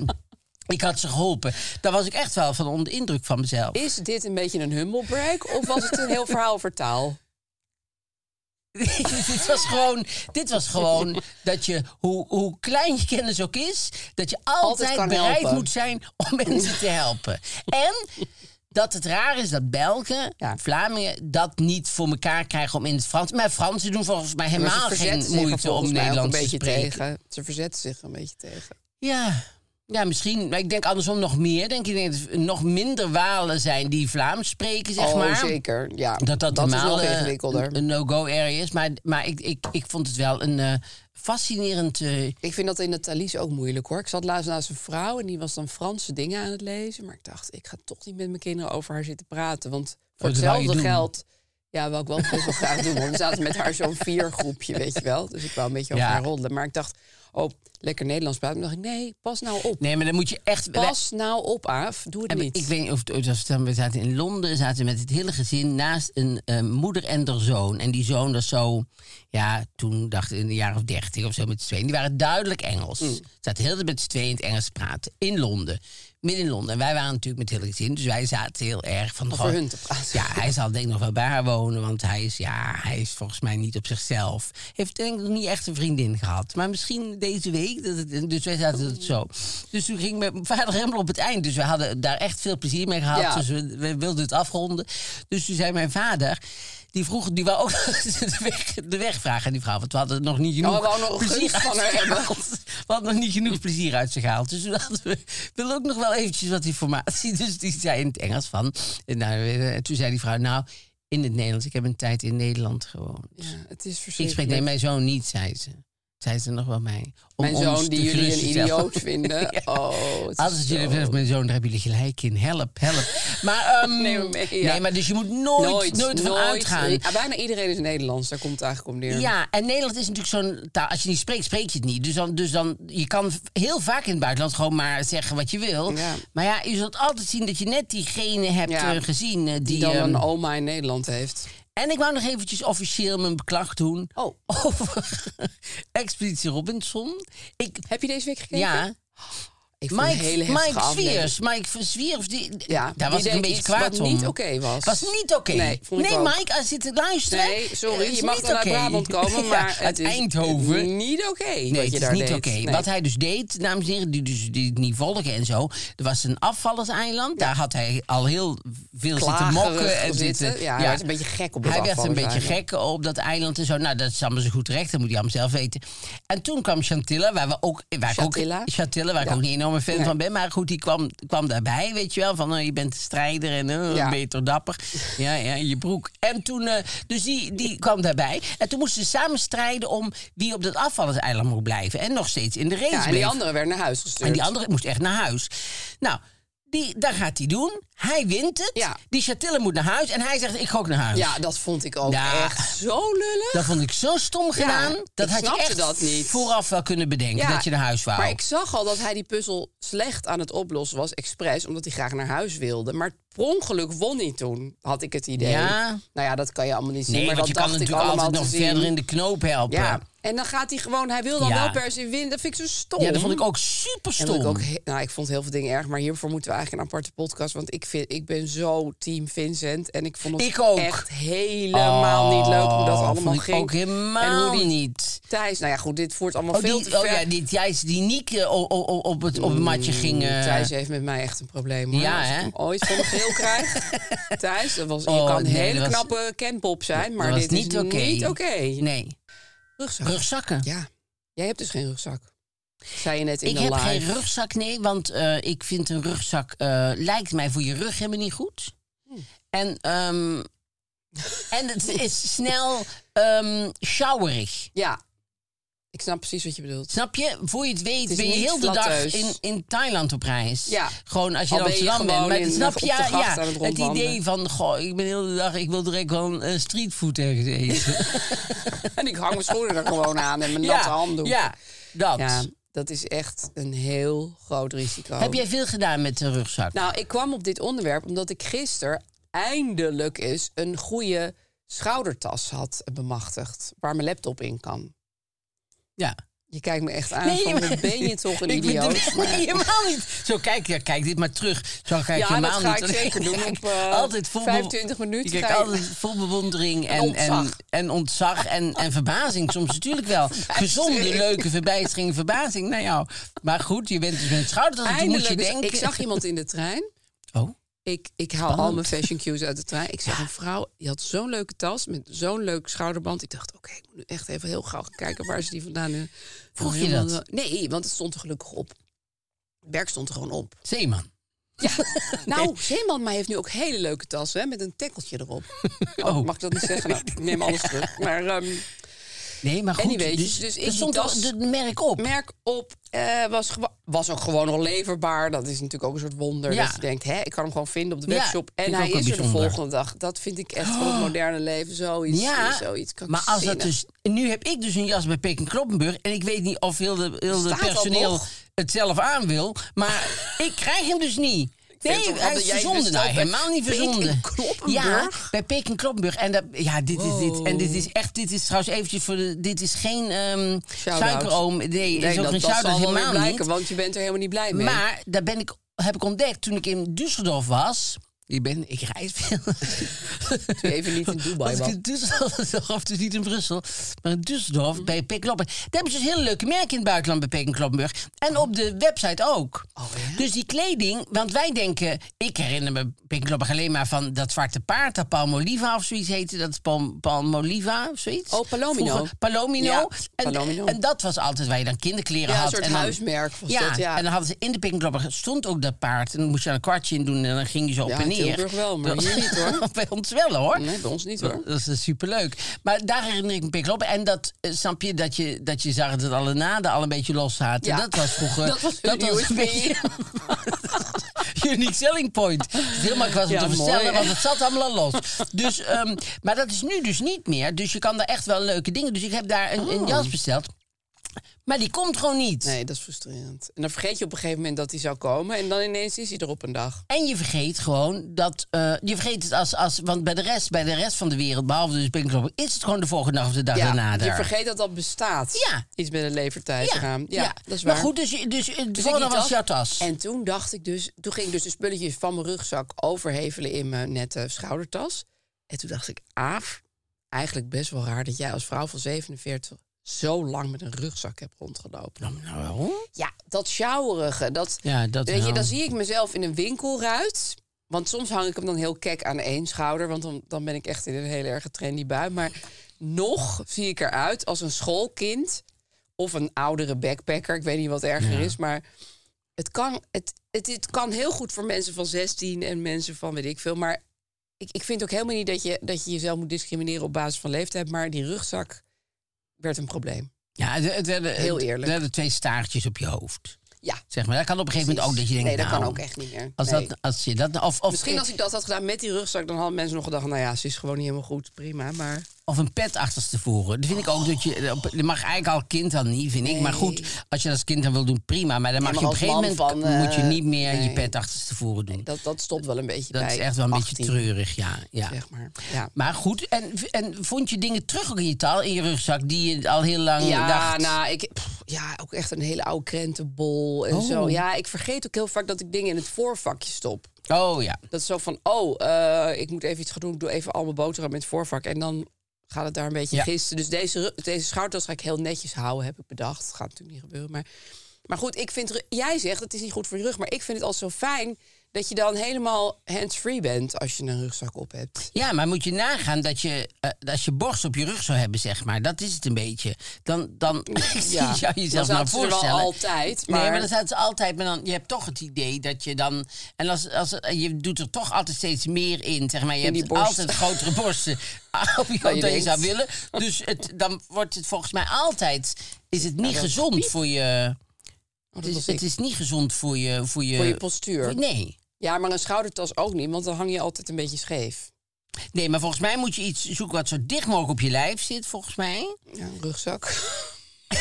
Speaker 3: ik had ze geholpen. Daar was ik echt wel van onder de indruk van mezelf.
Speaker 1: Is dit een beetje een humblebrag of was het een heel verhaal over taal?
Speaker 3: dit was gewoon, dit was gewoon dat je, hoe, hoe klein je kennis ook is, dat je altijd,
Speaker 1: kan
Speaker 3: bereid
Speaker 1: helpen.
Speaker 3: moet zijn om mensen te helpen. En dat het raar is dat Belgen,
Speaker 1: Ja.
Speaker 3: Vlamingen, dat niet voor elkaar krijgen om in het Frans. Maar Fransen doen volgens mij
Speaker 1: Maar
Speaker 3: helemaal
Speaker 1: ze verzetten
Speaker 3: geen
Speaker 1: zich er
Speaker 3: moeite om
Speaker 1: volgens mij ook
Speaker 3: Nederlands
Speaker 1: een
Speaker 3: te
Speaker 1: beetje
Speaker 3: spreken.
Speaker 1: Tegen. Ze verzetten zich een beetje tegen.
Speaker 3: Ja. ja, misschien. Maar ik denk andersom nog meer. Denk ik denk dat er nog minder Walen zijn die Vlaams spreken, zeg
Speaker 1: oh,
Speaker 3: maar.
Speaker 1: zeker. Ja,
Speaker 3: Dat dat,
Speaker 1: is
Speaker 3: normaal
Speaker 1: nog
Speaker 3: eh,
Speaker 1: ingewikkelder.
Speaker 3: een, een no-go area is. Maar, maar ik, ik, ik vond het wel een eh, fascinerend... eh,
Speaker 1: Ik vind dat in het Thalys ook moeilijk hoor. Ik zat laatst naast een vrouw en die was dan Franse dingen aan het lezen. Maar ik dacht, ik ga toch niet met mijn kinderen over haar zitten praten. Want voor
Speaker 3: Oh, dat wou je
Speaker 1: hetzelfde
Speaker 3: doen.
Speaker 1: geld. Ja, wou ik wel best wel graag doen. Want we zaten met haar zo'n viergroepje, weet je wel. Dus ik wou een beetje over
Speaker 3: Ja.
Speaker 1: haar roddelen. Maar ik dacht, oh, lekker Nederlands praten. Maar dacht ik, nee, pas nou op.
Speaker 3: nee, maar dan moet je echt...
Speaker 1: Pas nou op, Aaf. Doe het
Speaker 3: En
Speaker 1: niet.
Speaker 3: Ik weet niet of het ooit was. verteld, maar We zaten in Londen, zaten met het hele gezin naast een eh, moeder en haar zoon. En die zoon was zo, ja, toen dacht ik in de jaren of dertig of zo met z'n tweeën. Die waren duidelijk Engels.
Speaker 1: Mm.
Speaker 3: Zaten heel de tijd met z'n tweeën in het Engels te praten. In Londen. Midden in Londen. En wij waren natuurlijk met het hele gezin. Dus wij zaten heel erg van...
Speaker 1: Over
Speaker 3: goh,
Speaker 1: hun te praten.
Speaker 3: Ja, hij zal denk ik nog wel bij haar wonen. Want hij is, ja, hij is volgens mij niet op zichzelf. Heeft denk ik nog niet echt een vriendin gehad. Maar misschien deze week. Dat het, dus wij zaten het zo. Dus toen ging mijn vader helemaal op het eind. Dus we hadden daar echt veel plezier mee gehad.
Speaker 1: Ja.
Speaker 3: Dus we, we wilden het afronden. Dus toen zei mijn vader... Die vroeg, die wou ook de weg, de weg vragen aan die vrouw. Want we hadden nog niet genoeg
Speaker 1: Nou, we wou nog gunst van haar hebben.
Speaker 3: gehaald. We hadden nog niet genoeg plezier uit ze gehaald. Dus toen hadden we wilden ook nog wel eventjes wat informatie. Dus die zei in het Engels van... eh, Nou, eh, toen zei die vrouw, nou, in het Nederlands. Ik heb een tijd in Nederland gewoond.
Speaker 1: Ja, het is
Speaker 3: ik
Speaker 1: verschrikkelijk.
Speaker 3: spreek nee, mijn zoon niet, zei ze. Zei ze nog wel mij. Om
Speaker 1: Mijn
Speaker 3: ons
Speaker 1: zoon die
Speaker 3: te
Speaker 1: jullie een
Speaker 3: geruststellen.
Speaker 1: idioot vinden. Oh, het
Speaker 3: Als
Speaker 1: is
Speaker 3: jullie
Speaker 1: zo-
Speaker 3: zeggen, mijn zoon, daar hebben jullie gelijk in. Help, help. Maar, ehm,
Speaker 1: Neem hem mee, ja. eh,
Speaker 3: nee, maar dus je moet nooit, nooit, ervan uitgaan.
Speaker 1: Ja, bijna iedereen is Nederlands, daar komt het eigenlijk om neer.
Speaker 3: Ja, en Nederland is natuurlijk zo'n taal. Als je niet spreekt, spreek je het niet. Dus dan, dus dan je kan v- heel vaak in het buitenland gewoon maar zeggen wat je wil.
Speaker 1: Ja.
Speaker 3: Maar ja, je zult altijd zien dat je net diegene hebt
Speaker 1: Ja.
Speaker 3: eh, gezien eh, die.
Speaker 1: die dan
Speaker 3: ehm,
Speaker 1: een oma in Nederland heeft.
Speaker 3: En ik wou nog eventjes officieel mijn beklag doen.
Speaker 1: Oh.
Speaker 3: Over Expeditie Robinson. Ik,
Speaker 1: Heb je deze week gekeken?
Speaker 3: ja,
Speaker 1: Ik vond een hele
Speaker 3: Mike,
Speaker 1: heftige
Speaker 3: Mike
Speaker 1: aflevering.
Speaker 3: Swiers. Mike Swiers, die,
Speaker 1: Ja,
Speaker 3: daar
Speaker 1: die
Speaker 3: was ik een
Speaker 1: deed
Speaker 3: beetje
Speaker 1: iets
Speaker 3: kwaad
Speaker 1: wat
Speaker 3: om.
Speaker 1: niet oké was.
Speaker 3: Was niet oké.
Speaker 1: Nee, vond ik ook.
Speaker 3: Mike, als je zit te luisteren...
Speaker 1: Nee, sorry,
Speaker 3: het is
Speaker 1: je mag
Speaker 3: niet
Speaker 1: wel naar
Speaker 3: oké.
Speaker 1: Brabant komen,
Speaker 3: Ja,
Speaker 1: maar het
Speaker 3: uit
Speaker 1: is
Speaker 3: Eindhoven...
Speaker 1: niet oké wat
Speaker 3: Nee,
Speaker 1: je
Speaker 3: het is
Speaker 1: daar
Speaker 3: niet
Speaker 1: deed.
Speaker 3: oké.
Speaker 1: Nee.
Speaker 3: Wat hij dus deed, dames en heren, die, dus, die het niet volgen en zo. Er was een afvallerseiland. Daar had hij al heel veel zitten
Speaker 1: Klagerig
Speaker 3: mokken. En
Speaker 1: zitten.
Speaker 3: zitten.
Speaker 1: Ja, hij werd een beetje gek op dat
Speaker 3: Hij werd een beetje
Speaker 1: afvallerseiland.
Speaker 3: gek op dat eiland en zo. Nou, dat is allemaal zo goed terecht. Dat moet hij allemaal zelf weten. En toen kwam Chantilla, waar we ook... Waar Ik
Speaker 1: Chantilla?
Speaker 3: ook Chantilla, waar ik ook niet een enorme fan
Speaker 1: Nee.
Speaker 3: van ben. Maar goed, die kwam, kwam daarbij, weet je wel. Van, oh, je bent een strijder en eh,
Speaker 1: Ja.
Speaker 3: beter dapper. Ja, ja, in je broek. En toen... eh, dus die, die kwam daarbij. En toen moesten ze samen strijden om wie op dat afvallerseiland moet blijven. En nog steeds in de race
Speaker 1: Ja, en die
Speaker 3: bleef.
Speaker 1: andere werd naar huis gestuurd.
Speaker 3: En die andere moest echt naar huis. Nou, die, daar gaat hij doen. Hij wint het.
Speaker 1: Ja.
Speaker 3: Die Chatille moet naar huis. En hij zegt, ik ga ook naar huis.
Speaker 1: Ja, dat vond ik ook
Speaker 3: Ja.
Speaker 1: echt zo lullig.
Speaker 3: Dat vond ik zo stom gedaan. dat
Speaker 1: ik
Speaker 3: had je
Speaker 1: snapte
Speaker 3: echt
Speaker 1: dat niet.
Speaker 3: vooraf wel kunnen bedenken dat je naar huis wou.
Speaker 1: Maar ik zag al dat hij die puzzel slecht aan het oplossen was, expres, omdat hij graag naar huis wilde. Maar per ongeluk won hij toen, had ik het idee.
Speaker 3: Ja.
Speaker 1: Nou ja, dat kan je allemaal niet zien.
Speaker 3: nee,
Speaker 1: maar
Speaker 3: want
Speaker 1: dat
Speaker 3: je kan
Speaker 1: dacht ik
Speaker 3: natuurlijk
Speaker 1: allemaal
Speaker 3: altijd
Speaker 1: te
Speaker 3: nog
Speaker 1: zien.
Speaker 3: verder in de knoop helpen.
Speaker 1: Ja. En dan gaat hij gewoon, hij wil dan
Speaker 3: Ja.
Speaker 1: wel per se winnen. Dat vind ik zo stom.
Speaker 3: Ja, dat vond ik ook super
Speaker 1: En dat
Speaker 3: stom.
Speaker 1: ik, ook, he- nou, ik vond heel veel dingen erg, maar hiervoor moeten we eigenlijk een aparte podcast. Want ik, vind, ik ben zo team Vincent. En ik vond het
Speaker 3: Ik ook.
Speaker 1: echt helemaal niet leuk hoe dat allemaal
Speaker 3: Oh, vond ik
Speaker 1: ging.
Speaker 3: ook helemaal
Speaker 1: en hoe die
Speaker 3: niet.
Speaker 1: Thijs, nou ja, goed, dit voert allemaal
Speaker 3: Oh,
Speaker 1: veel
Speaker 3: die,
Speaker 1: te
Speaker 3: oh
Speaker 1: ver. Mm,
Speaker 3: ja, die Thijs die Niek eh, o- o- o- op het, op het matje ging... eh,
Speaker 1: Thijs heeft met mij echt een probleem. Hoor.
Speaker 3: Ja,
Speaker 1: Als ik
Speaker 3: hè?
Speaker 1: hem ooit van de geel krijg. Thijs, dat was,
Speaker 3: Oh,
Speaker 1: je kan een
Speaker 3: nee,
Speaker 1: hele
Speaker 3: dat was-
Speaker 1: knappe kenpop zijn,
Speaker 3: dat
Speaker 1: maar
Speaker 3: was
Speaker 1: dit
Speaker 3: niet
Speaker 1: is
Speaker 3: oké.
Speaker 1: niet oké.
Speaker 3: Nee,
Speaker 1: Rugzak.
Speaker 3: rugzakken.
Speaker 1: Ja, jij hebt dus geen rugzak. Zei je net in
Speaker 3: ik
Speaker 1: de
Speaker 3: heb
Speaker 1: live.
Speaker 3: geen rugzak, nee, want eh, ik vind een rugzak eh, lijkt mij voor je rug helemaal niet goed.
Speaker 1: Hmm.
Speaker 3: En, ehm, en het is snel ehm showerig.
Speaker 1: Ja. Ik snap precies wat je bedoelt.
Speaker 3: Snap je? Voor je het weet
Speaker 1: Het is
Speaker 3: ben je
Speaker 1: niet
Speaker 3: heel de dag
Speaker 1: flatteus.
Speaker 3: in, in Thailand op reis.
Speaker 1: Ja.
Speaker 3: Gewoon als je
Speaker 1: Al
Speaker 3: in
Speaker 1: ben je
Speaker 3: Amsterdam bent.
Speaker 1: gewoon
Speaker 3: Maar
Speaker 1: in,
Speaker 3: snap
Speaker 1: op
Speaker 3: je?
Speaker 1: de
Speaker 3: Ja,
Speaker 1: gracht aan het
Speaker 3: het
Speaker 1: rondwandelen.
Speaker 3: idee van, goh, ik ben heel de dag, ik wil direct gewoon eh, streetfood ergens eten.
Speaker 1: En ik hang mijn schoenen er gewoon aan en mijn
Speaker 3: ja,
Speaker 1: natte handdoek.
Speaker 3: Ja, dat.
Speaker 1: ja, dat is echt een heel groot risico.
Speaker 3: Heb jij veel gedaan met de rugzak?
Speaker 1: Nou, ik kwam op dit onderwerp omdat ik gisteren eindelijk eens een goede schoudertas had bemachtigd. Waar mijn laptop in kan.
Speaker 3: ja.
Speaker 1: Je kijkt me echt aan van,
Speaker 3: maar-
Speaker 1: wat ben je toch een
Speaker 3: ik ben-
Speaker 1: idioot.
Speaker 3: Nee,
Speaker 1: Maar-
Speaker 3: helemaal niet. Zo, kijk, ja, kijk dit maar terug. Zo kijk
Speaker 1: Ja,
Speaker 3: je
Speaker 1: dat
Speaker 3: helemaal
Speaker 1: ga
Speaker 3: niet.
Speaker 1: ik zeker doen.
Speaker 3: Kijk,
Speaker 1: Op, eh,
Speaker 3: altijd vol be-
Speaker 1: 25 minuten
Speaker 3: Je
Speaker 1: ga
Speaker 3: kijkt
Speaker 1: je-
Speaker 3: altijd vol bewondering en, en, en,
Speaker 1: ontzag.
Speaker 3: ontzag en, en verbazing. Soms natuurlijk wel. Gezonde, leuke verbijstering, verbazing naar jou. Maar goed, je bent dus met het schouder. Dus moet je
Speaker 1: Eindelijk,
Speaker 3: denken.
Speaker 1: ik zag iemand in de trein.
Speaker 3: Oh,
Speaker 1: Ik, ik haal al mijn fashion cues uit de trein. Ik zag een vrouw, die had zo'n leuke tas met zo'n leuk schouderband. Ik dacht, oké, ik moet nu echt even heel gauw gaan kijken waar ze die vandaan... eh,
Speaker 3: Vroeg je
Speaker 1: helemaal-
Speaker 3: dat?
Speaker 1: Nee, want het stond er gelukkig op. Het werk stond er gewoon op.
Speaker 3: zeeman.
Speaker 1: Nou, Zeeman maar heeft nu ook hele leuke tassen hè, met een tekkeltje erop. Oh,
Speaker 3: Oh.
Speaker 1: Mag ik dat niet zeggen? Nou, ik neem alles terug. Maar ehm,
Speaker 3: Nee, maar goed.
Speaker 1: Anyway,
Speaker 3: dus,
Speaker 1: dus ik
Speaker 3: er stond
Speaker 1: die
Speaker 3: wel
Speaker 1: tas-
Speaker 3: het merk op.
Speaker 1: merk op eh, was, gewa- was ook gewoon nog leverbaar. Dat is natuurlijk ook een soort wonder.
Speaker 3: Ja.
Speaker 1: Dat je denkt, hè, ik kan hem gewoon vinden op de
Speaker 3: Ja,
Speaker 1: webshop. en
Speaker 3: vind ik
Speaker 1: hij
Speaker 3: ook
Speaker 1: is er
Speaker 3: wel
Speaker 1: de
Speaker 3: bijzonder. Oh.
Speaker 1: volgende dag. Dat vind ik echt voor het moderne leven zoiets.
Speaker 3: Ja,
Speaker 1: zoiets kan
Speaker 3: maar als dat
Speaker 1: zinnen.
Speaker 3: dus... Nu heb ik dus een jas bij Peking Kloppenburg... en ik weet niet of heel de, heel de
Speaker 1: Staat al
Speaker 3: personeel
Speaker 1: nog.
Speaker 3: het zelf aan wil... maar ik krijg hem dus niet.
Speaker 1: vind
Speaker 3: Nee,
Speaker 1: toch
Speaker 3: hij
Speaker 1: dat
Speaker 3: is
Speaker 1: jij
Speaker 3: verzonden.
Speaker 1: bestelt
Speaker 3: Nou,
Speaker 1: bij
Speaker 3: helemaal niet
Speaker 1: Peking
Speaker 3: verzonden.
Speaker 1: Kloppenburg?
Speaker 3: Ja, bij Peking Kloppenburg. En dat, ja, dit is dit. En dit is echt... Dit is trouwens eventjes voor de... Dit is geen ehm
Speaker 1: Shout-out.
Speaker 3: suikeroom. Nee, het is ook
Speaker 1: dat,
Speaker 3: geen
Speaker 1: dat zal wel
Speaker 3: suikeroom.
Speaker 1: weer
Speaker 3: Helemaal
Speaker 1: blijken,
Speaker 3: niet.
Speaker 1: want je bent er helemaal niet blij mee.
Speaker 3: Maar daar ben ik, heb ik ontdekt toen ik in Düsseldorf was. Ik, ben, ik reis veel.
Speaker 1: Toen je even niet in Dubai
Speaker 3: was.
Speaker 1: was.
Speaker 3: ik in Düsseldorf, of dus niet in Brussel, maar in Düsseldorf
Speaker 1: Mm.
Speaker 3: bij Pek Kloppenburg. Daar hebben ze dus hele leuke merken in het buitenland bij Pek en Kloppenburg. En op de website ook.
Speaker 1: Oh,
Speaker 3: Dus die kleding, want wij denken, ik herinner me Pek en Kloppenburg alleen maar van dat zwarte paard, dat Palmoliva of zoiets heette. Dat is Pal- Palmoliva of zoiets.
Speaker 1: Oh, Palomino.
Speaker 3: Vroeger, Palomino.
Speaker 1: Ja,
Speaker 3: en,
Speaker 1: Palomino.
Speaker 3: en dat was altijd waar je dan kinderkleren
Speaker 1: Ja, een
Speaker 3: had.
Speaker 1: soort
Speaker 3: en dan-
Speaker 1: huismerk was
Speaker 3: ja,
Speaker 1: dat, ja.
Speaker 3: en dan hadden ze in de Pinkenklopper stond ook dat paard. En dan moest je er een kwartje in doen en dan ging je zo op
Speaker 1: Ja,
Speaker 3: en
Speaker 1: in
Speaker 3: neer.
Speaker 1: Tilburg wel, maar
Speaker 3: Dat-
Speaker 1: hier niet, hoor.
Speaker 3: bij ons wel hoor.
Speaker 1: Nee, bij ons niet hoor.
Speaker 3: Dat is eh, superleuk. Maar daar herinner ik me Pinkenklopper. En dat, eh, snap je, dat je, dat je zag dat alle naden al een beetje los zaten.
Speaker 1: Ja.
Speaker 3: Dat was vroeger...
Speaker 1: Dat was hun
Speaker 3: een
Speaker 1: USB.
Speaker 3: beetje... Unique selling point. Het is heel makkelijk was om
Speaker 1: Ja,
Speaker 3: te
Speaker 1: mooi,
Speaker 3: verstellen,
Speaker 1: hè?
Speaker 3: want het zat allemaal al los. Dus, ehm, maar dat is nu dus niet meer. Dus je kan daar echt wel leuke dingen... Dus ik heb daar een, een jas besteld. Maar die komt gewoon niet.
Speaker 1: Oh. Nee, dat is frustrerend. En dan vergeet je op een gegeven moment dat hij zou komen. En dan ineens is hij er op een dag.
Speaker 3: En je vergeet gewoon dat. eh, je vergeet het als. als want bij de, rest, bij de rest van de wereld, behalve dus Pink Floyd, is het gewoon de volgende dag of de dag daarna.
Speaker 1: je
Speaker 3: daar.
Speaker 1: vergeet dat dat bestaat.
Speaker 3: Ja.
Speaker 1: Iets met een levertijdkraam. Ja, dat is waar.
Speaker 3: Maar goed, dus, je- dus het
Speaker 1: Dus ik
Speaker 3: volgende
Speaker 1: die
Speaker 3: was jouw tas.
Speaker 1: En toen dacht ik dus, toen ging ik dus de spulletjes van mijn rugzak overhevelen in mijn nette schoudertas. En toen dacht ik, Aaf, eigenlijk best wel raar dat jij als vrouw van 47 zo lang met een rugzak hebt rondgelopen.
Speaker 3: Nou,
Speaker 1: Ja, dat sjouwerige, dat,
Speaker 3: Ja, dat
Speaker 1: weet je,
Speaker 3: wel.
Speaker 1: dan zie ik mezelf in een winkelruit. Want soms hang ik hem dan heel kek aan één schouder, want dan, dan ben ik echt in een hele erge trendy bui. Maar nog zie ik eruit als een schoolkind of een oudere backpacker. Ik weet niet wat erger is, maar het kan, het, het, het kan heel goed voor mensen van 16 en mensen van weet ik veel. Maar ik, ik vind ook helemaal niet dat je, dat je jezelf moet discrimineren op basis van leeftijd. Maar die rugzak werd een probleem.
Speaker 3: ja, het, het werden,
Speaker 1: Heel
Speaker 3: het
Speaker 1: eerlijk.
Speaker 3: werden twee staartjes op je hoofd.
Speaker 1: Ja,
Speaker 3: Zeg maar, dat kan op een gegeven moment ook dat je denkt.
Speaker 1: nee, dat
Speaker 3: nou,
Speaker 1: kan ook echt niet meer.
Speaker 3: Als
Speaker 1: Nee.
Speaker 3: dat, als je dat, of, of,
Speaker 1: Misschien als ik dat had gedaan met die rugzak, dan hadden mensen nog gedacht: nou ja, ze is gewoon niet helemaal goed, prima. Maar
Speaker 3: Of een pet achterstevoren. Dat vind ik ook dat je. op- Dat mag eigenlijk al kind dan niet, vind ik. Maar goed, als je dat als kind dan wil doen, prima. Maar dan mag
Speaker 1: maar
Speaker 3: je op een
Speaker 1: als
Speaker 3: gegeven moment.
Speaker 1: man van, eh,
Speaker 3: moet je niet meer je
Speaker 1: nee.
Speaker 3: pet achterstevoren doen.
Speaker 1: dat, dat stopt wel een beetje
Speaker 3: Dat
Speaker 1: bij.
Speaker 3: is echt wel een
Speaker 1: 18,
Speaker 3: beetje treurig, ja. ja.
Speaker 1: Zeg maar. ja.
Speaker 3: Maar goed, en, en vond je dingen terug ook in je taal, in je rugzak, die je al heel lang
Speaker 1: Ja,
Speaker 3: dacht?
Speaker 1: nou, ik, pff, ja, ook echt een hele oude krentenbol en
Speaker 3: Oh.
Speaker 1: zo. Ja, ik vergeet ook heel vaak dat ik dingen in het voorvakje stop.
Speaker 3: Oh ja.
Speaker 1: Dat is zo van, oh, eh, ik moet even iets gaan doen. Ik doe even al mijn boterham in het voorvak. En dan gaat het daar een beetje
Speaker 3: Ja.
Speaker 1: gisten. Dus deze, ru- deze schoudertas ga ik heel netjes houden, heb ik bedacht. gaat natuurlijk niet gebeuren. Maar, maar goed, ik vind, ru- jij zegt het is niet goed voor je rug. Maar ik vind het al zo fijn dat je dan helemaal hands-free bent als je een rugzak op hebt. Oh,
Speaker 3: Ja, maar moet je nagaan dat je, eh, als je borst op je rug zou hebben, zeg maar. Dat is het een beetje. Dan, dan ik
Speaker 1: Ja.
Speaker 3: zie jou jezelf
Speaker 1: Dan zaten
Speaker 3: nou
Speaker 1: ze er wel
Speaker 3: voorstellen.
Speaker 1: altijd,
Speaker 3: Nee,
Speaker 1: maar-
Speaker 3: maar dan zaten ze altijd. Maar dan, je hebt toch het idee dat je dan... En als, als, eh, je doet er toch altijd steeds meer in, zeg maar. Je
Speaker 1: In die
Speaker 3: hebt
Speaker 1: borst. Oh,
Speaker 3: altijd grotere borsten op je hoofd dan
Speaker 1: je
Speaker 3: je
Speaker 1: denkt.
Speaker 3: zou willen. Dus het, dan wordt het volgens mij altijd... is het niet
Speaker 1: dat
Speaker 3: gezond
Speaker 1: piep.
Speaker 3: voor je.
Speaker 1: Oh, dat
Speaker 3: Het is,
Speaker 1: was
Speaker 3: het
Speaker 1: ik.
Speaker 3: is niet gezond voor je. Voor je,
Speaker 1: Voor je postuur.
Speaker 3: voor- nee.
Speaker 1: Ja, maar een schoudertas ook niet, want dan hang je altijd een beetje scheef.
Speaker 3: nee, maar volgens mij moet je iets zoeken wat zo dicht mogelijk op je lijf zit, volgens mij.
Speaker 1: Ja, een rugzak.
Speaker 3: Ja,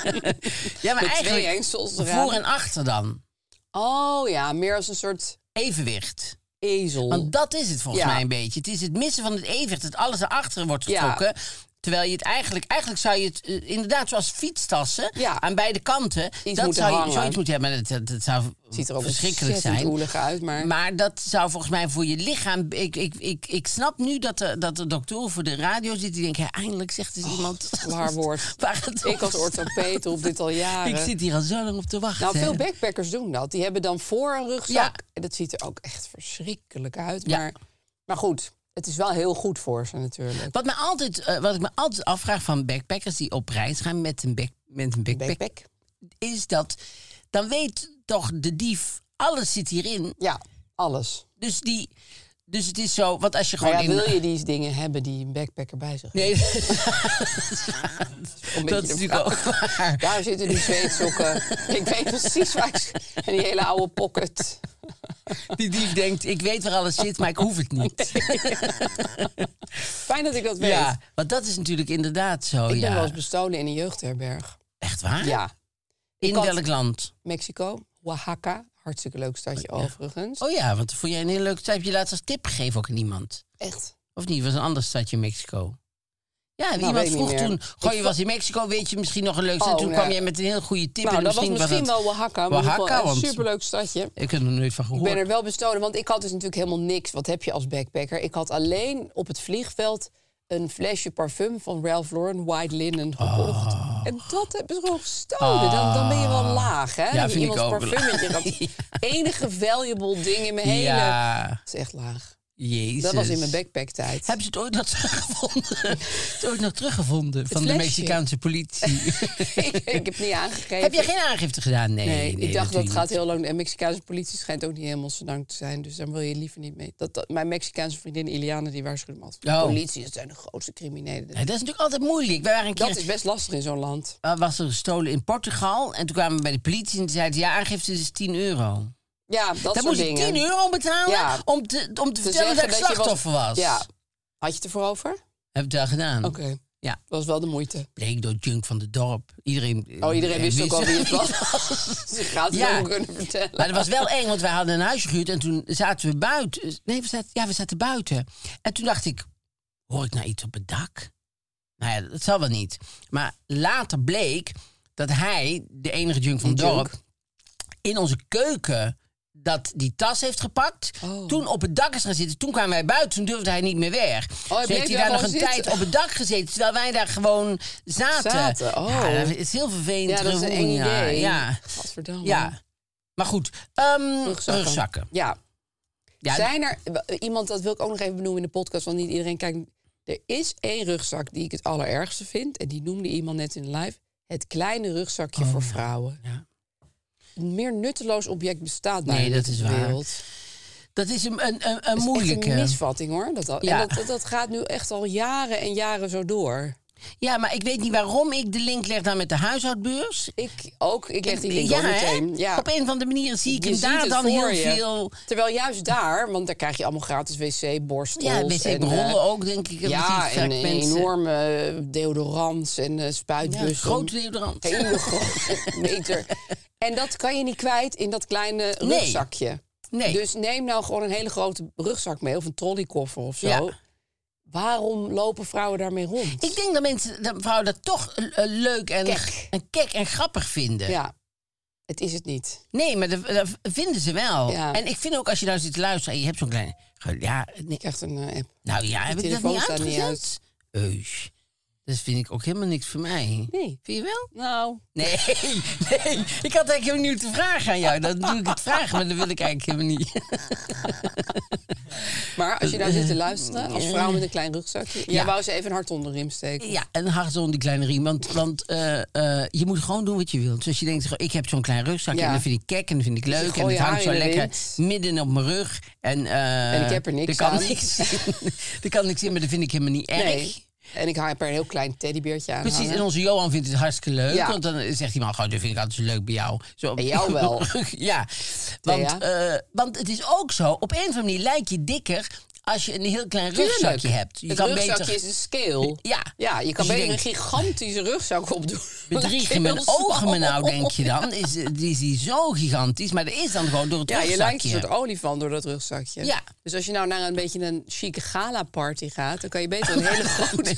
Speaker 3: maar
Speaker 1: Met twee
Speaker 3: eigenlijk
Speaker 1: hengsels eraan.
Speaker 3: voor en achter dan.
Speaker 1: Oh ja, meer als een soort
Speaker 3: Evenwicht.
Speaker 1: ezel.
Speaker 3: Want dat is het volgens
Speaker 1: Ja.
Speaker 3: mij een beetje. Het is het missen van het evenwicht, dat alles erachter wordt
Speaker 1: Ja.
Speaker 3: getrokken. Terwijl je het eigenlijk, eigenlijk zou je het eh, inderdaad zoals fietstassen
Speaker 1: Ja.
Speaker 3: aan beide kanten.
Speaker 1: Iets
Speaker 3: dat
Speaker 1: moeten
Speaker 3: zou je
Speaker 1: hangen.
Speaker 3: zoiets moeten hebben. Dat, dat, dat zou
Speaker 1: ziet er ook
Speaker 3: verschrikkelijk
Speaker 1: ontzettend
Speaker 3: zijn.
Speaker 1: oelig uit, maar...
Speaker 3: Maar dat zou volgens mij voor je lichaam. Ik, ik, ik, ik snap nu dat de, dat de dokter voor de radio zit. Die denkt, ja, eindelijk zegt eens iemand.
Speaker 1: waar woord.
Speaker 3: waar het
Speaker 1: Ik als
Speaker 3: over
Speaker 1: orthopeet roep dit al jaren.
Speaker 3: Ik zit hier al zo lang op te wachten.
Speaker 1: Nou, veel
Speaker 3: hè.
Speaker 1: backpackers doen dat. Die hebben dan voor een rugzak.
Speaker 3: Ja.
Speaker 1: En dat ziet er ook echt verschrikkelijk uit.
Speaker 3: Ja.
Speaker 1: Maar, maar goed, het is wel heel goed voor ze natuurlijk.
Speaker 3: Wat, me altijd, eh, wat ik me altijd afvraag van backpackers die op reis gaan met een, back, met een backpack,
Speaker 1: Backpack.
Speaker 3: is dat dan weet toch de dief alles zit hierin.
Speaker 1: Ja, alles.
Speaker 3: Dus die, dus het is zo. Want als je
Speaker 1: Maar
Speaker 3: gewoon
Speaker 1: ja,
Speaker 3: in
Speaker 1: wil je die dingen hebben die een backpacker bij zich
Speaker 3: Nee, dat is
Speaker 1: heeft? Om een beetje de
Speaker 3: natuurlijk ook
Speaker 1: vraag.
Speaker 3: waar.
Speaker 1: Daar zitten die zweetsokken. ik weet precies waar ik... En die hele oude pocket.
Speaker 3: Die dief denkt, ik weet waar alles zit, maar ik hoef het niet.
Speaker 1: Fijn dat ik dat weet.
Speaker 3: Ja, want dat is natuurlijk inderdaad zo.
Speaker 1: ik ben
Speaker 3: ja.
Speaker 1: wel eens bestolen in een jeugdherberg.
Speaker 3: Echt waar?
Speaker 1: Ja.
Speaker 3: In
Speaker 1: had-
Speaker 3: welk land?
Speaker 1: Mexico, Oaxaca. Hartstikke leuk stadje overigens.
Speaker 3: Oh ja, want vond jij een hele leuke tijd. Heb je laatst als tip gegeven ook aan iemand?
Speaker 1: Echt.
Speaker 3: Of niet? Was een ander stadje in Mexico? Ja,
Speaker 1: Nou, weet
Speaker 3: iemand
Speaker 1: ik
Speaker 3: vroeg
Speaker 1: niet meer.
Speaker 3: toen. Goh, je
Speaker 1: Ik
Speaker 3: was in Mexico, weet je misschien nog een leuk
Speaker 1: Oh,
Speaker 3: stadje? toen
Speaker 1: nou.
Speaker 3: kwam jij met een heel goede tip.
Speaker 1: Nou,
Speaker 3: en
Speaker 1: dat was
Speaker 3: misschien
Speaker 1: misschien
Speaker 3: dat-
Speaker 1: wel Oaxaca. Maar Oaxaca,
Speaker 3: Oaxaca,
Speaker 1: wel een
Speaker 3: want
Speaker 1: superleuk stadje.
Speaker 3: ik heb er nooit van
Speaker 1: Ik
Speaker 3: gehoord.
Speaker 1: ben er wel bestolen, want ik had dus natuurlijk helemaal niks. Wat heb je als backpacker? Ik had alleen op het vliegveld een flesje parfum van Ralph Lauren White Linen
Speaker 3: Ah.
Speaker 1: gekocht. En dat hebben ze gewoon gestolen. Dan, dan ben je wel laag, hè? dat je
Speaker 3: Ah. vind ik
Speaker 1: iemands
Speaker 3: ook.
Speaker 1: parfummetje gaat. Enige valuable ding in mijn hele...
Speaker 3: Ja,
Speaker 1: Dat is echt laag.
Speaker 3: jezus.
Speaker 1: Dat was in mijn backpacktijd.
Speaker 3: Hebben ze het ooit nog teruggevonden? Hebben ze het ooit nog teruggevonden van de
Speaker 1: flesje.
Speaker 3: Mexicaanse politie?
Speaker 1: ik, ik heb het niet aangegeven.
Speaker 3: Heb jij geen aangifte gedaan? Nee,
Speaker 1: Nee, ik dacht dat
Speaker 3: natuurlijk
Speaker 1: gaat
Speaker 3: niet.
Speaker 1: heel lang. En Mexicaanse politie schijnt ook niet helemaal dank te zijn. Dus daar wil je liever niet mee. Dat, dat- mijn Mexicaanse vriendin Iliane die waarschuwde me altijd.
Speaker 3: Oh.
Speaker 1: Politie, dat zijn de grootste criminelen.
Speaker 3: Ja, dat is natuurlijk altijd moeilijk. Wij waren een keer
Speaker 1: Dat is best lastig in zo'n land.
Speaker 3: eh, was er gestolen in Portugal. En toen kwamen we bij de politie en zeiden ze, ja, aangifte is 10 euro.
Speaker 1: Ja, dat
Speaker 3: Dan
Speaker 1: soort
Speaker 3: moest
Speaker 1: dingen.
Speaker 3: ik 10 euro betalen
Speaker 1: Ja.
Speaker 3: om te, om te
Speaker 1: Te
Speaker 3: vertellen dat ik
Speaker 1: zeggen je
Speaker 3: slachtoffer was.
Speaker 1: Ja. Had je het ervoor over? Oké.
Speaker 3: Heb ik daar gedaan. Ja.
Speaker 1: Was wel de moeite.
Speaker 3: Bleek door junk van het dorp. Iedereen, eh,
Speaker 1: Oh, iedereen wist ook al wie het was. Ze gaat het
Speaker 3: Ja.
Speaker 1: ook kunnen vertellen.
Speaker 3: Maar dat was wel eng, want wij hadden een huisje gehuurd en toen zaten we buiten. Nee, we zaten, ja, we zaten buiten. En toen dacht ik, hoor ik nou iets op het dak? Nou ja, dat zal wel niet. Maar later bleek dat hij, de enige junk van het
Speaker 1: Die
Speaker 3: dorp,
Speaker 1: junk.
Speaker 3: in onze keuken dat die tas heeft gepakt.
Speaker 1: Oh.
Speaker 3: Toen op het dak is gaan zitten. Toen kwamen wij buiten, toen durfde hij niet meer
Speaker 1: hij
Speaker 3: weg. toen heeft
Speaker 1: bleef
Speaker 3: hij
Speaker 1: Oh, daar
Speaker 3: daar nog een
Speaker 1: gewoon zitten.
Speaker 3: tijd op het dak gezeten, terwijl wij daar gewoon zaten.
Speaker 1: Zaten, oh.
Speaker 3: Ja, dat is heel vervelend.
Speaker 1: Ja, dat is een
Speaker 3: gevoel,
Speaker 1: eng
Speaker 3: ja,
Speaker 1: idee.
Speaker 3: ja.
Speaker 1: Gadverdamme.
Speaker 3: Ja. Maar goed, ehm,
Speaker 1: Rugzakken.
Speaker 3: rugzakken.
Speaker 1: Ja.
Speaker 3: Ja,
Speaker 1: Zijn er iemand, dat wil ik ook nog even benoemen in de podcast, want niet iedereen kijkt. Er is één rugzak die ik het allerergste vind. En die noemde iemand net in live. Het kleine rugzakje voor vrouwen.
Speaker 3: Oh, ja.
Speaker 1: Een meer nutteloos object bestaat bijna
Speaker 3: Nee,
Speaker 1: niet
Speaker 3: dat
Speaker 1: op
Speaker 3: is
Speaker 1: de
Speaker 3: waar.
Speaker 1: wereld.
Speaker 3: Dat is een, eh, een, een,
Speaker 1: Dat
Speaker 3: een
Speaker 1: is
Speaker 3: moeilijke.
Speaker 1: Echt een misvatting hoor. Dat, al,
Speaker 3: Ja.
Speaker 1: en dat, dat, dat gaat nu echt al jaren en jaren zo door.
Speaker 3: Ja, maar ik weet niet waarom ik de link leg dan met de huishoudbeurs.
Speaker 1: Ik ook, ik leg die link
Speaker 3: ja,
Speaker 1: ook
Speaker 3: hè?
Speaker 1: meteen. Ja.
Speaker 3: Op een of andere manier zie ik
Speaker 1: Je
Speaker 3: hem
Speaker 1: ziet
Speaker 3: daar
Speaker 1: het
Speaker 3: dan
Speaker 1: voor
Speaker 3: heel
Speaker 1: je.
Speaker 3: veel.
Speaker 1: Terwijl juist daar, want daar krijg je allemaal gratis wc-borstels.
Speaker 3: Ja,
Speaker 1: en,
Speaker 3: wc-rollen
Speaker 1: eh,
Speaker 3: ook, denk ik.
Speaker 1: Ja, en
Speaker 3: en
Speaker 1: eh, enorme eh, deodorants en eh
Speaker 3: Ja,
Speaker 1: spuitbussen.
Speaker 3: groot deodorant.
Speaker 1: Hele grote meter. En dat kan je niet kwijt in dat kleine
Speaker 3: Nee.
Speaker 1: rugzakje.
Speaker 3: Nee.
Speaker 1: Dus neem nou gewoon een hele grote rugzak mee of een trolleykoffer of zo.
Speaker 3: Ja.
Speaker 1: Waarom lopen vrouwen daarmee rond?
Speaker 3: Ik denk dat mensen, dat vrouwen dat toch eh, eh, leuk en
Speaker 1: Kek.
Speaker 3: en kek en grappig vinden.
Speaker 1: Ja, het is het niet.
Speaker 3: Nee, maar dat, dat vinden ze wel.
Speaker 1: Ja.
Speaker 3: En ik vind ook als je nou zit te luisteren en je hebt zo'n klein... ge- Ja, nee,
Speaker 1: Ik krijg een eh, app.
Speaker 3: nou ja, heb ik dat
Speaker 1: telefoon
Speaker 3: niet
Speaker 1: staat niet
Speaker 3: uitgezet?
Speaker 1: uit.
Speaker 3: Eus. Dat vind ik ook helemaal niks voor mij.
Speaker 1: Nee.
Speaker 3: Vind je wel?
Speaker 1: Nou,
Speaker 3: Nee, nee. Ik had eigenlijk helemaal niet te vragen aan jou. Dan doe ik het vragen, maar dat wil ik eigenlijk helemaal niet.
Speaker 1: maar als je nou zit te luisteren als vrouw met een klein rugzakje. Jij wou ze even een hart onder de riem steken.
Speaker 3: Ja, en hard zonder die kleine riem. Want, want eh, eh, je moet gewoon doen wat je wilt. Dus als je denkt, ik heb zo'n klein rugzakje.
Speaker 1: Ja.
Speaker 3: En dat vind ik kek en dat vind ik leuk. En
Speaker 1: gooi
Speaker 3: het
Speaker 1: je
Speaker 3: hangt
Speaker 1: haar
Speaker 3: zo
Speaker 1: in de
Speaker 3: lekker
Speaker 1: wind.
Speaker 3: midden op mijn rug. En, eh,
Speaker 1: En ik heb er niks
Speaker 3: er kan
Speaker 1: aan.
Speaker 3: Niks in. Er kan niks in, maar dat vind ik helemaal niet erg.
Speaker 1: Nee. En ik hang heb er een heel klein teddybeertje aan.
Speaker 3: Precies,
Speaker 1: hangen.
Speaker 3: en onze Johan vindt het hartstikke leuk.
Speaker 1: Ja.
Speaker 3: Want dan zegt die man gewoon, dat vind ik altijd zo leuk bij jou. Zo,
Speaker 1: Bij jou wel.
Speaker 3: ja, want,
Speaker 1: Thea?
Speaker 3: eh, want het is ook zo, op een of andere manier lijk je dikker als je een heel klein
Speaker 1: Tuurlijk.
Speaker 3: rugzakje hebt. Je
Speaker 1: het rugzakje is een scale.
Speaker 3: Ja.
Speaker 1: ja je kan
Speaker 3: Dus je
Speaker 1: beter een
Speaker 3: denkt-
Speaker 1: gigantische rugzak opdoen.
Speaker 3: Bedrieg je
Speaker 1: Heel
Speaker 3: mijn ogen me nou,
Speaker 1: smal.
Speaker 3: denk je dan. Is, die is die zo gigantisch, maar dat is dan gewoon door het
Speaker 1: Ja, je lijkt een
Speaker 3: rugzakje.
Speaker 1: soort olifant door dat rugzakje.
Speaker 3: Ja.
Speaker 1: Dus als je nou naar een beetje een chique gala-party gaat... dan kan je beter een hele grote...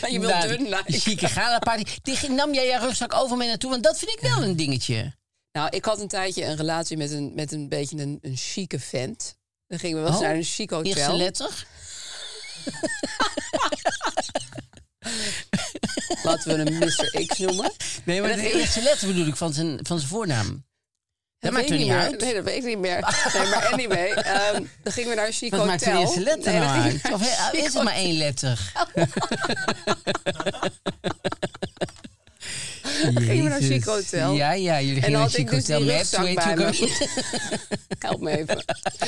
Speaker 1: Maar je wilt dun lijken.
Speaker 3: Chique galaparty. Die nam jij je rugzak over mee naartoe, want dat vind ik wel een dingetje.
Speaker 1: Nou, ik had een tijdje een relatie met een, met een beetje een, een chique vent. Dan gingen we wel eens naar een chic
Speaker 3: Oh, Eerste
Speaker 1: hotel.
Speaker 3: letter.
Speaker 1: Laten we hem Mr. X noemen.
Speaker 3: Nee, maar
Speaker 1: En dat
Speaker 3: de
Speaker 1: ging-
Speaker 3: eerste letter bedoel ik van zijn, van zijn voornaam.
Speaker 1: weet
Speaker 3: Dat maakt
Speaker 1: ik
Speaker 3: er niet
Speaker 1: meer.
Speaker 3: uit.
Speaker 1: Nee, dat weet ik niet meer. Nee, maar anyway, ehm, dan gingen we naar een chic
Speaker 3: Wat
Speaker 1: hotel.
Speaker 3: maakt de eerste letter
Speaker 1: Nee, dan
Speaker 3: nou
Speaker 1: gingen we
Speaker 3: uit?
Speaker 1: naar
Speaker 3: Of
Speaker 1: een
Speaker 3: eh,
Speaker 1: chic
Speaker 3: is het maar één letter?
Speaker 1: Gingen we naar
Speaker 3: Jezus.
Speaker 1: Chic Hotel.
Speaker 3: Ja, ja, jullie
Speaker 1: En
Speaker 3: gingen
Speaker 1: dan
Speaker 3: naar
Speaker 1: had ik
Speaker 3: Chic
Speaker 1: dus
Speaker 3: Hotel.
Speaker 1: die
Speaker 3: maar hebt,
Speaker 1: rugzak
Speaker 3: weet
Speaker 1: bij
Speaker 3: je ook al-
Speaker 1: me. Help me even.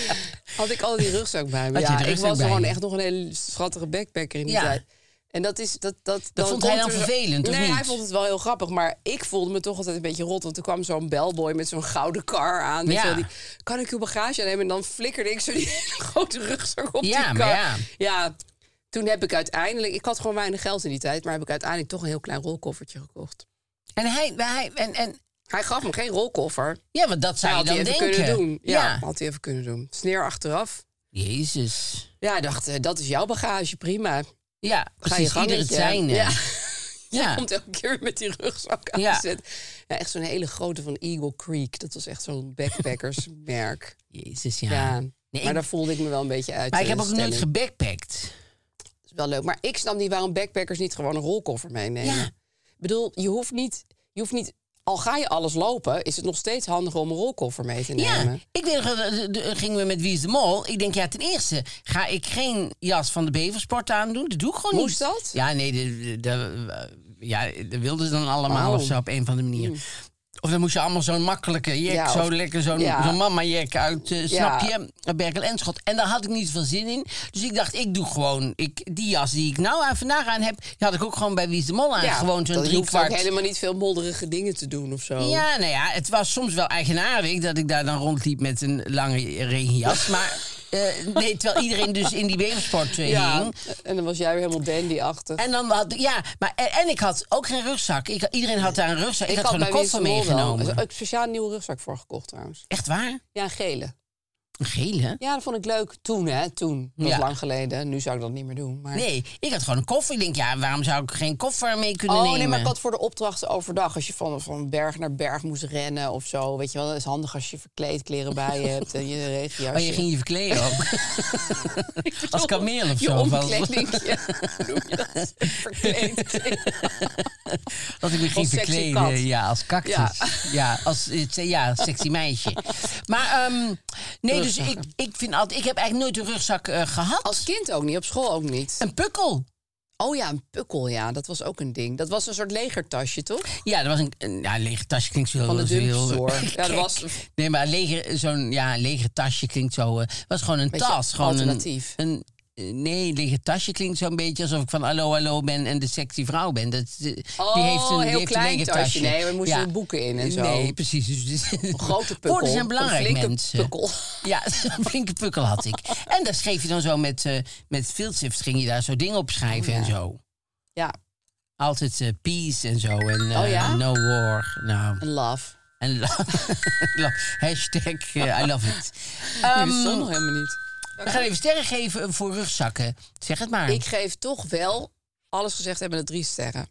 Speaker 1: Had ik al die rugzak bij me.
Speaker 3: Had je
Speaker 1: Ja,
Speaker 3: de
Speaker 1: ik
Speaker 3: rugzak
Speaker 1: was
Speaker 3: bij
Speaker 1: gewoon
Speaker 3: je?
Speaker 1: echt nog een hele schattige backpacker in die
Speaker 3: Ja.
Speaker 1: tijd. En dat is dat dat. dan
Speaker 3: vond hij
Speaker 1: komt
Speaker 3: dan
Speaker 1: er zo-
Speaker 3: vervelend, of
Speaker 1: Nee,
Speaker 3: niet?
Speaker 1: hij vond het wel heel grappig, maar ik voelde me toch altijd een beetje rot, want er kwam zo'n bellboy met zo'n gouden kar aan.
Speaker 3: Ja.
Speaker 1: Ja. Die, kan ik uw bagage aannemen? En dan flikkerde ik zo die hele grote rugzak op
Speaker 3: Ja,
Speaker 1: die
Speaker 3: maar
Speaker 1: kar.
Speaker 3: ja.
Speaker 1: ja. Toen heb ik uiteindelijk, ik had gewoon weinig geld in die tijd, maar heb ik uiteindelijk toch een heel klein rolkoffertje gekocht.
Speaker 3: En hij, hij en, en,
Speaker 1: Hij gaf me geen rolkoffer.
Speaker 3: ja, want dat zou
Speaker 1: Hij
Speaker 3: je
Speaker 1: had
Speaker 3: dan
Speaker 1: hij even
Speaker 3: denken.
Speaker 1: kunnen doen. Ja,
Speaker 3: Ja.
Speaker 1: had hij even kunnen doen. Sneer achteraf.
Speaker 3: Jezus.
Speaker 1: Ja, hij dacht, eh, dat is jouw bagage, prima.
Speaker 3: Ja,
Speaker 1: Ga je
Speaker 3: precies.
Speaker 1: gang
Speaker 3: Ieder
Speaker 1: met
Speaker 3: het
Speaker 1: je.
Speaker 3: zijn.
Speaker 1: Ja.
Speaker 3: Ja. ja.
Speaker 1: Komt elke keer weer met die rugzak aan
Speaker 3: Ja.
Speaker 1: te zetten. Ja, echt zo'n hele grote van Eagle Creek. Dat was echt zo'n backpackersmerk.
Speaker 3: Jezus,
Speaker 1: ja.
Speaker 3: ja. Nee,
Speaker 1: maar
Speaker 3: ik-
Speaker 1: daar voelde ik me wel een beetje uit.
Speaker 3: maar ik heb
Speaker 1: eh,
Speaker 3: ook nooit
Speaker 1: stelling.
Speaker 3: gebackpackt.
Speaker 1: Dat is wel leuk. Maar ik snap niet waarom backpackers niet gewoon een rolkoffer meenemen.
Speaker 3: Ja.
Speaker 1: Ik bedoel, je hoeft niet... Je hoeft niet al ga je alles lopen, is het nog steeds handig om een rolkoffer mee te nemen.
Speaker 3: Ja, ik weet nog, eh, de- de- gingen we met Wie is de Mol. Ik denk, ja, ten eerste ga ik geen jas van de Beversport aandoen. Dat doe ik gewoon
Speaker 1: Moest
Speaker 3: niet.
Speaker 1: dat?
Speaker 3: Ja, nee, de, de- de- ja, dat wilden ze dan allemaal
Speaker 1: Oh.
Speaker 3: of zo op een van de manieren. Of dan moest je allemaal zo'n makkelijke jek,
Speaker 1: Ja,
Speaker 3: zo
Speaker 1: of-
Speaker 3: lekker zo'n
Speaker 1: ja.
Speaker 3: zo'n mama-jek uit, eh, snap
Speaker 1: Ja.
Speaker 3: je? Berkel en Schot. En daar had ik niet veel zin in. Dus ik dacht, ik doe gewoon, ik, die jas die ik nou aan vandaag aan heb, die had ik ook gewoon bij Wie is de Mol aan. gewoon zo'n
Speaker 1: dat- je
Speaker 3: drie
Speaker 1: hoeft
Speaker 3: kwart.
Speaker 1: ook helemaal niet veel modderige dingen te doen of zo.
Speaker 3: Ja, nou ja, het was soms wel eigenaardig dat ik daar dan rondliep met een lange regenjas. Maar eh, nee, terwijl iedereen dus in die weversport eh,
Speaker 1: Ja,
Speaker 3: hing.
Speaker 1: en dan was jij weer helemaal dandy-achtig.
Speaker 3: En dan had ja, maar en, en ik had ook geen rugzak. Ik, iedereen had daar een rugzak. Ik, had gewoon een
Speaker 1: bij Wies
Speaker 3: koffer
Speaker 1: de Mol wel.
Speaker 3: meegenomen.
Speaker 1: Er is ook speciaal een nieuwe rugzak voor gekocht trouwens.
Speaker 3: Echt waar?
Speaker 1: Ja, een gele.
Speaker 3: Een gele?
Speaker 1: Ja, dat vond ik leuk toen, hè. Toen. Dat
Speaker 3: Ja.
Speaker 1: was lang geleden. Nu zou ik dat niet meer doen. Maar...
Speaker 3: Nee, ik had gewoon een koffer. Ik denk, ja, waarom zou ik geen koffer mee kunnen
Speaker 1: Oh
Speaker 3: nemen?
Speaker 1: nee, maar ik had voor de opdrachten overdag. Als je van, van berg naar berg moest rennen of zo. Weet je wel, dat is handig als je verkleedkleren bij je hebt en je regenjasje.
Speaker 3: Oh, je ging je verkleden ook. Als kameel of
Speaker 1: Je
Speaker 3: zo. van-
Speaker 1: omkledingje. Hoe noem je dat? Verkleedkleren.
Speaker 3: Dat ik me ging
Speaker 1: Als sexy kat.
Speaker 3: verkleden. Ja, als cactus. Ja,
Speaker 1: Ja.
Speaker 3: als eh, se- ja, sexy meisje. Maar ehm, nee, dus ik,
Speaker 1: Rugzakken.
Speaker 3: ik, vind altijd, ik heb eigenlijk nooit een rugzak eh, gehad.
Speaker 1: Als kind ook niet, op school ook niet.
Speaker 3: Een pukkel.
Speaker 1: Oh ja, een pukkel, ja. Dat was ook een ding. Dat was een soort legertasje, toch?
Speaker 3: Ja, dat was een, een ja, een leger tasje klinkt zo
Speaker 1: Van de
Speaker 3: zo heel-
Speaker 1: dumpstore. Ja, dat was-
Speaker 3: Nee, maar een leger, zo'n ja, een leger tasje klinkt zo. Het was gewoon een
Speaker 1: Beetje
Speaker 3: tas. Gewoon
Speaker 1: alternatief.
Speaker 3: Een, een, eh, nee, een leger tasje klinkt zo'n beetje alsof ik van hallo, hallo ben en de sexy vrouw ben. Dat, eh, die
Speaker 1: Oh,
Speaker 3: heeft
Speaker 1: heel
Speaker 3: een die heeft een
Speaker 1: klein
Speaker 3: leger
Speaker 1: tasje. Nee, maar er moesten boeken in en zo.
Speaker 3: Nee, precies. Dus, dus-
Speaker 1: grote pukkel.
Speaker 3: Woorden zijn belangrijk,
Speaker 1: een flinke
Speaker 3: mensen.
Speaker 1: pukkel.
Speaker 3: Ja, een flinke pukkel had ik. En daar schreef je dan zo met, eh met filtstift, ging je daar zo dingen op schrijven en zo.
Speaker 1: Ja,
Speaker 3: Altijd eh, peace en zo. En eh,
Speaker 1: Oh ja?
Speaker 3: no war. Nou,
Speaker 1: een love.
Speaker 3: en lo- lo- hashtag eh, I love it.
Speaker 1: Die bestond nog
Speaker 3: Ehm
Speaker 1: helemaal niet.
Speaker 3: we gaan even sterren geven voor rugzakken. Zeg het maar.
Speaker 1: Ik geef toch wel alles gezegd hebben de drie sterren.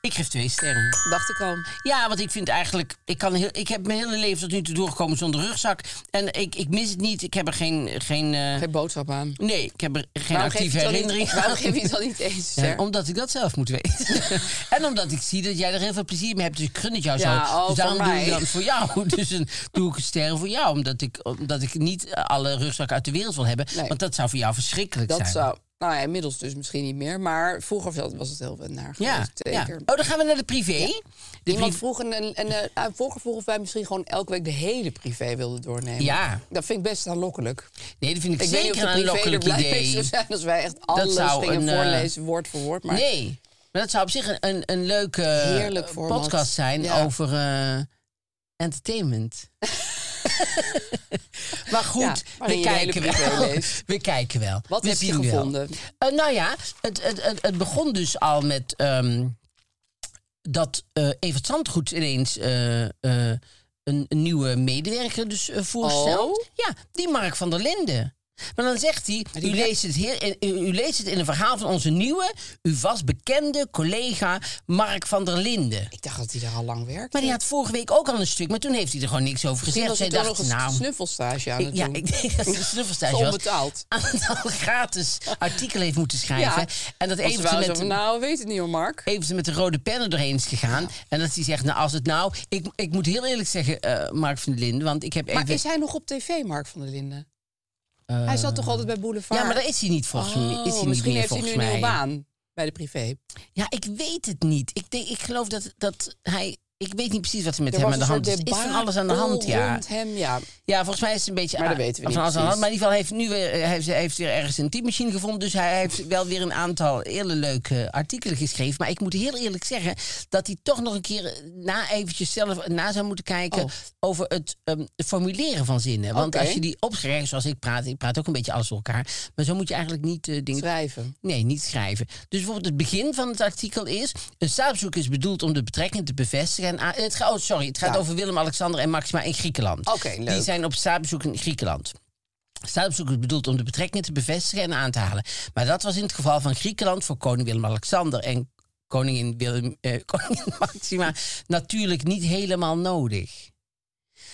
Speaker 3: ik geef twee sterren.
Speaker 1: Dacht ik al.
Speaker 3: Ja, want ik vind eigenlijk, ik, kan heel, ik heb mijn hele leven tot nu toe doorgekomen zonder rugzak. En ik, ik mis het niet. Ik heb er geen. geen eh,
Speaker 1: Geen boodschap aan.
Speaker 3: nee, ik heb er geen
Speaker 1: Waarom geef
Speaker 3: actieve
Speaker 1: je het dan niet-
Speaker 3: herinnering
Speaker 1: Waarom
Speaker 3: aan.
Speaker 1: geef je het dan niet eens
Speaker 3: Ja,
Speaker 1: ster?
Speaker 3: omdat ik dat zelf moet weten. en omdat ik zie dat jij er heel veel plezier mee hebt. Dus ik gun het jou
Speaker 1: Ja,
Speaker 3: zo.
Speaker 1: oh,
Speaker 3: dus
Speaker 1: voor
Speaker 3: daarom doe
Speaker 1: mij.
Speaker 3: ik dan voor jou. Dus dan doe ik een ster voor jou. Omdat ik, omdat ik niet alle rugzakken uit de wereld wil hebben.
Speaker 1: Nee.
Speaker 3: Want dat zou voor jou verschrikkelijk
Speaker 1: Dat
Speaker 3: zijn.
Speaker 1: zou... Nou ja, inmiddels dus misschien niet meer. Maar vroeger was het- was het heel naar
Speaker 3: Ja,
Speaker 1: geweest,
Speaker 3: ja.
Speaker 1: zeker.
Speaker 3: Oh, dan gaan we naar de privé. De
Speaker 1: Iemand
Speaker 3: privé.
Speaker 1: vroeg, een, een, een, eh, ah, vroeger vroeg of wij misschien gewoon elke week de hele privé wilden doornemen.
Speaker 3: Ja.
Speaker 1: Dat vind ik best aanlokkelijk.
Speaker 3: Nee, dat vind ik,
Speaker 1: Ik weet niet
Speaker 3: zeker
Speaker 1: of de
Speaker 3: een
Speaker 1: privé er
Speaker 3: lokkelijk
Speaker 1: blij mee
Speaker 3: idee.
Speaker 1: zou zijn als wij echt alles
Speaker 3: zou
Speaker 1: gingen
Speaker 3: een, eh,
Speaker 1: voorlezen, woord voor woord. Maar
Speaker 3: Nee, maar dat zou op zich een, een, een leuke
Speaker 1: Heerlijk
Speaker 3: eh,
Speaker 1: format.
Speaker 3: podcast zijn
Speaker 1: Ja.
Speaker 3: over eh, entertainment. maar goed,
Speaker 1: Ja,
Speaker 3: we,
Speaker 1: waarin je de hele
Speaker 3: kijken
Speaker 1: privé
Speaker 3: wel.
Speaker 1: leest.
Speaker 3: we kijken wel.
Speaker 1: Wat
Speaker 3: We
Speaker 1: is je
Speaker 3: zien wel.
Speaker 1: gevonden?
Speaker 3: Eh, nou ja, het, het, het, het begon dus al met ehm, dat eh Evert Zandgoed ineens eh, eh, een, een nieuwe medewerker dus eh, voorstelt.
Speaker 1: Oh.
Speaker 3: Ja, die Mark van der Linden. Maar dan zegt hij, u leest, het heel, u, u leest het in een verhaal van onze nieuwe, uw vast bekende collega Mark van der Linden.
Speaker 1: ik dacht dat hij daar al lang werkte.
Speaker 3: Maar die had vorige week ook al een stuk, maar toen heeft hij er gewoon niks over
Speaker 1: Misschien
Speaker 3: gezegd.
Speaker 1: was
Speaker 3: Zij
Speaker 1: hij toen
Speaker 3: dacht,
Speaker 1: nog een
Speaker 3: nou,
Speaker 1: snuffelstage aan
Speaker 3: ik-
Speaker 1: het
Speaker 3: ja,
Speaker 1: doen.
Speaker 3: ik denk dat het een snuffelstage was.
Speaker 1: Onbetaald.
Speaker 3: aantal gratis artikelen heeft moeten schrijven.
Speaker 1: Ja.
Speaker 3: En dat
Speaker 1: Want ze
Speaker 3: even
Speaker 1: waren
Speaker 3: met,
Speaker 1: zo van, nou, we weten het niet hoor, Mark.
Speaker 3: Evert met de rode pennen doorheen is gegaan. En dat hij zegt, nou als het nou... Ik, ik moet heel eerlijk zeggen, eh, Mark van der Linden, want ik heb
Speaker 1: Maar
Speaker 3: even... Eh,
Speaker 1: is hij nog op tv, Mark van der Linden? hij zat toch altijd bij Boulevard?
Speaker 3: ja, maar daar is hij niet volgens mij. Is hij
Speaker 1: Oh,
Speaker 3: niet
Speaker 1: misschien
Speaker 3: meer,
Speaker 1: heeft hij nu
Speaker 3: volgens
Speaker 1: een nieuwe
Speaker 3: mij.
Speaker 1: baan bij de privé.
Speaker 3: Ja, ik weet het niet. Ik, denk, ik geloof dat, dat hij... Ik weet niet precies wat er met
Speaker 1: Er
Speaker 3: hem
Speaker 1: was
Speaker 3: aan de
Speaker 1: een
Speaker 3: hand is.
Speaker 1: soort
Speaker 3: Er is van
Speaker 1: debakel
Speaker 3: alles aan de hand, ja.
Speaker 1: rond hem, ja.
Speaker 3: Ja, volgens mij is het een beetje...
Speaker 1: Maar dat
Speaker 3: ah,
Speaker 1: weten we
Speaker 3: van
Speaker 1: niet
Speaker 3: alles aan de hand.
Speaker 1: precies.
Speaker 3: Maar in ieder geval hij heeft nu weer, hij heeft, hij heeft weer ergens een typemachine gevonden. Dus hij heeft wel weer een aantal hele leuke eh, artikelen geschreven. Maar ik moet heel eerlijk zeggen dat hij toch nog een keer eh, na eventjes zelf na zou moeten kijken...
Speaker 1: Oh.
Speaker 3: over het ehm, formuleren van zinnen. Want
Speaker 1: Oké.
Speaker 3: als je die opschrijft, zoals ik praat... Ik praat ook een beetje alles door elkaar. Maar zo moet je eigenlijk niet eh, dingen...
Speaker 1: Schrijven.
Speaker 3: Nee, niet schrijven. Dus bijvoorbeeld het begin van het artikel is... een staatsbezoek is bedoeld om de betrekking te bevestigen... En aan- het gaat, oh, sorry, het gaat
Speaker 1: Ja.
Speaker 3: over Willem-Alexander en Maxima in Griekenland.
Speaker 1: Oké, leuk.
Speaker 3: Die zijn op staatsbezoek in Griekenland. Staatsbezoek is bedoeld om de betrekkingen te bevestigen en aan te halen. Maar dat was in het geval van Griekenland voor koning Willem-Alexander... en koningin, Willem, eh, koningin Maxima natuurlijk niet helemaal nodig.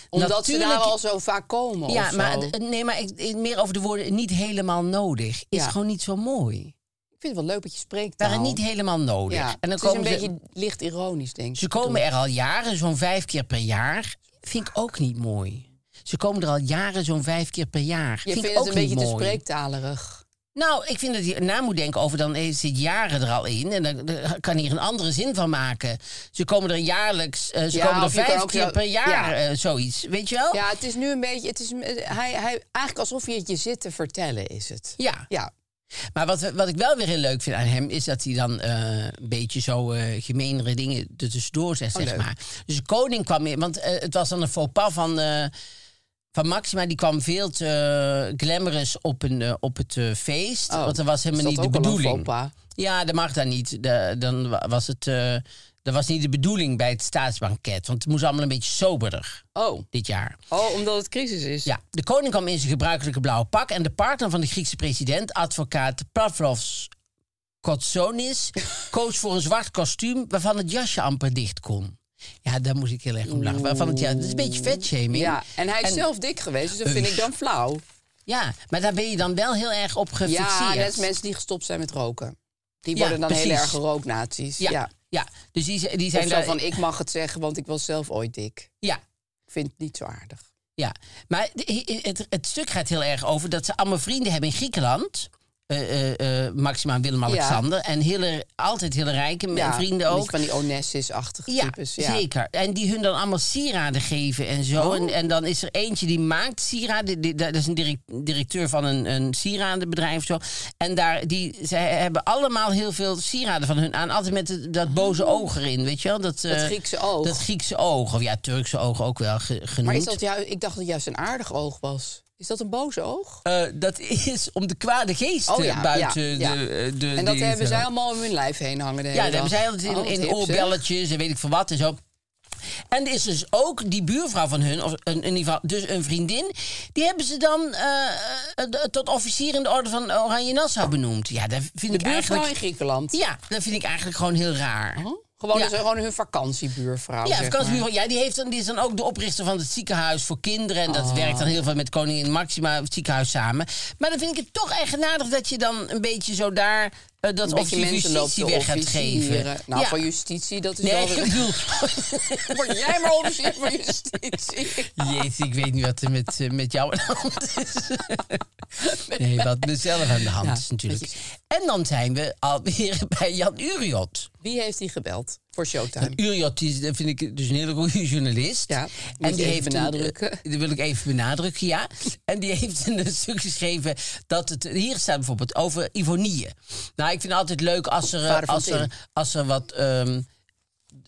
Speaker 1: Omdat
Speaker 3: Natuurlijk-
Speaker 1: ze daar al zo vaak komen of
Speaker 3: Ja,
Speaker 1: zo.
Speaker 3: maar,
Speaker 1: ik
Speaker 3: nee, maar ik, meer over de woorden niet helemaal nodig. Is
Speaker 1: Ja.
Speaker 3: gewoon niet zo mooi.
Speaker 1: vind het wel leuk dat je spreekt.
Speaker 3: Waren niet helemaal nodig.
Speaker 1: ja.
Speaker 3: En dan
Speaker 1: het
Speaker 3: komen
Speaker 1: is een
Speaker 3: ze,
Speaker 1: beetje licht ironisch, denk ik.
Speaker 3: ze komen er al jaren, zo'n vijf keer per jaar. Vind ik ook niet mooi. Ze komen er al jaren, zo'n vijf keer per jaar.
Speaker 1: Je
Speaker 3: vind
Speaker 1: vindt
Speaker 3: ik
Speaker 1: het
Speaker 3: ook
Speaker 1: een beetje
Speaker 3: niet
Speaker 1: te
Speaker 3: mooi.
Speaker 1: spreektalerig.
Speaker 3: Nou, ik vind dat je na moet denken over dan eh, zit jaren er al in. En dan, dan kan hier een andere zin van maken. Ze komen er jaarlijks, eh, ze
Speaker 1: Ja,
Speaker 3: komen er
Speaker 1: of je kan
Speaker 3: vijf
Speaker 1: ook
Speaker 3: keer
Speaker 1: zo-
Speaker 3: per jaar,
Speaker 1: ja.
Speaker 3: eh, zoiets. Weet je wel?
Speaker 1: Ja, het is nu een beetje... Het is, eh, hij, hij, eigenlijk alsof je het je zit te vertellen, is het.
Speaker 3: Ja.
Speaker 1: Ja,
Speaker 3: Maar wat, we- wat ik wel weer heel leuk vind aan hem... is dat hij dan eh, een beetje zo eh gemeenere dingen er tussendoor zegt, zeg
Speaker 1: Oh, leuk.
Speaker 3: maar. Dus de koning kwam in... want eh, het was dan een faux pas van, eh, van Maxima... die kwam veel te eh, glamorous op, een, eh, op het eh, feest.
Speaker 1: Oh,
Speaker 3: want dat was helemaal
Speaker 1: is dat
Speaker 3: niet de
Speaker 1: ook al een
Speaker 3: bedoeling.
Speaker 1: faux pas?
Speaker 3: Ja, dat mag dan niet. Da- dan wa- was het... eh, dat was niet de bedoeling bij het staatsbanket. Want het moest allemaal een beetje soberder
Speaker 1: Oh.
Speaker 3: dit jaar.
Speaker 1: Oh, omdat het crisis is.
Speaker 3: Ja, de koning kwam in zijn gebruikelijke blauwe pak en de partner van de Griekse president, advocaat Pavlovs Kotsonis, koos voor een zwart kostuum waarvan het jasje amper dicht kon. Ja, daar moest ik heel erg om lachen. Waarvan het, ja, dat is een beetje vetshaming.
Speaker 1: Ja, en hij is zelf dik geweest, dus dat vind ik dan flauw.
Speaker 3: Ja, maar daar ben je dan wel heel erg op gefixeerd.
Speaker 1: Ja, net als mensen die gestopt zijn met roken. Die
Speaker 3: Ja,
Speaker 1: worden dan heel
Speaker 3: precies.
Speaker 1: erg rooknaties.
Speaker 3: Ja,
Speaker 1: Ja.
Speaker 3: ja. dus die, die
Speaker 1: Of
Speaker 3: zijn
Speaker 1: zo
Speaker 3: daar...
Speaker 1: van, ik mag het zeggen, want ik was zelf ooit dik.
Speaker 3: Ja,
Speaker 1: Ik vind het niet zo aardig.
Speaker 3: Ja, maar de- het, het stuk gaat heel erg over dat ze allemaal vrienden hebben in Griekenland. Eh, eh, eh, Maxima en Willem-Alexander. En hele, altijd hele rijke m- vrienden
Speaker 1: die
Speaker 3: ook.
Speaker 1: Van die Onessis-achtige
Speaker 3: Ja,
Speaker 1: types. Ja, Oh.
Speaker 3: zeker. En die hun dan allemaal sieraden geven en zo. En, en dan is er eentje die maakt sieraden. Die- Dat is een direct- directeur van een, een sieradenbedrijf of zo. En daar, die, zij hebben allemaal heel veel sieraden van hun aan. Altijd met het- dat boze oog erin, weet je wel? Dat, eh,
Speaker 1: Oh. Griekse oog.
Speaker 3: Dat Griekse oog. Of ja, Turkse oog ook wel ge- genoemd.
Speaker 1: Maar is dat juist, ik dacht dat het juist een aardig oog was. Is dat een boze oog?
Speaker 3: Eh, dat is om de kwade geesten
Speaker 1: Oh ja,
Speaker 3: buiten
Speaker 1: ja, ja.
Speaker 3: De, eh, de...
Speaker 1: en dat
Speaker 3: die-
Speaker 1: hebben zij allemaal om hun lijf heen hangen. De hele
Speaker 3: Ja, dat hebben
Speaker 1: dag.
Speaker 3: zij altijd in,
Speaker 1: Oh, wat
Speaker 3: in
Speaker 1: hip, zeg.
Speaker 3: oorbelletjes en weet ik veel wat en zo. En er is dus ook die buurvrouw van hun, of een, in ieder geval dus een vriendin... die hebben ze dan eh, eh, de- tot officier in de orde van Oranje Nassau benoemd. Ja, dat vind
Speaker 1: De
Speaker 3: ik
Speaker 1: buurvrouw
Speaker 3: eigenlijk...
Speaker 1: in Griekenland.
Speaker 3: Ja, dat vind ik eigenlijk gewoon heel raar.
Speaker 1: Gewoon,
Speaker 3: Ja.
Speaker 1: dus gewoon hun vakantiebuurvrouw.
Speaker 3: Ja,
Speaker 1: zeg
Speaker 3: vakantiebureau.
Speaker 1: maar.
Speaker 3: Ja, die, heeft dan, die is dan ook de oprichter van het ziekenhuis voor kinderen. En dat werkt dan heel veel met koningin Maxima, het ziekenhuis samen. Maar dan vind ik het toch eigenaardig dat je dan een beetje zo daar eh, dat of
Speaker 1: dat je
Speaker 3: je
Speaker 1: mensen loopt
Speaker 3: justitie
Speaker 1: te
Speaker 3: weg gaat geven.
Speaker 1: officieren. Nou,
Speaker 3: Ja.
Speaker 1: van justitie, dat is
Speaker 3: Nee,
Speaker 1: wel...
Speaker 3: ik bedoel...
Speaker 1: Word jij maar officier van justitie.
Speaker 3: Jezus, ik weet niet wat er met, eh, met jou aan de hand is. Nee, wat mezelf aan de hand
Speaker 1: Ja,
Speaker 3: is natuurlijk. En dan zijn we alweer bij Jan Uriot.
Speaker 1: Wie heeft die gebeld voor Showtime?
Speaker 3: Jan Uriot die is, eh, vind ik dus een hele goede journalist.
Speaker 1: Ja, moet je
Speaker 3: die
Speaker 1: even
Speaker 3: een, eh,
Speaker 1: benadrukken.
Speaker 3: dat wil ik even benadrukken, ja. En die heeft een stuk geschreven dat het... Hier staat bijvoorbeeld over Ivonieën. Nou, ik vind het altijd leuk als er, eh,
Speaker 1: Vader van
Speaker 3: als
Speaker 1: Tim.
Speaker 3: er, als er wat... ehm,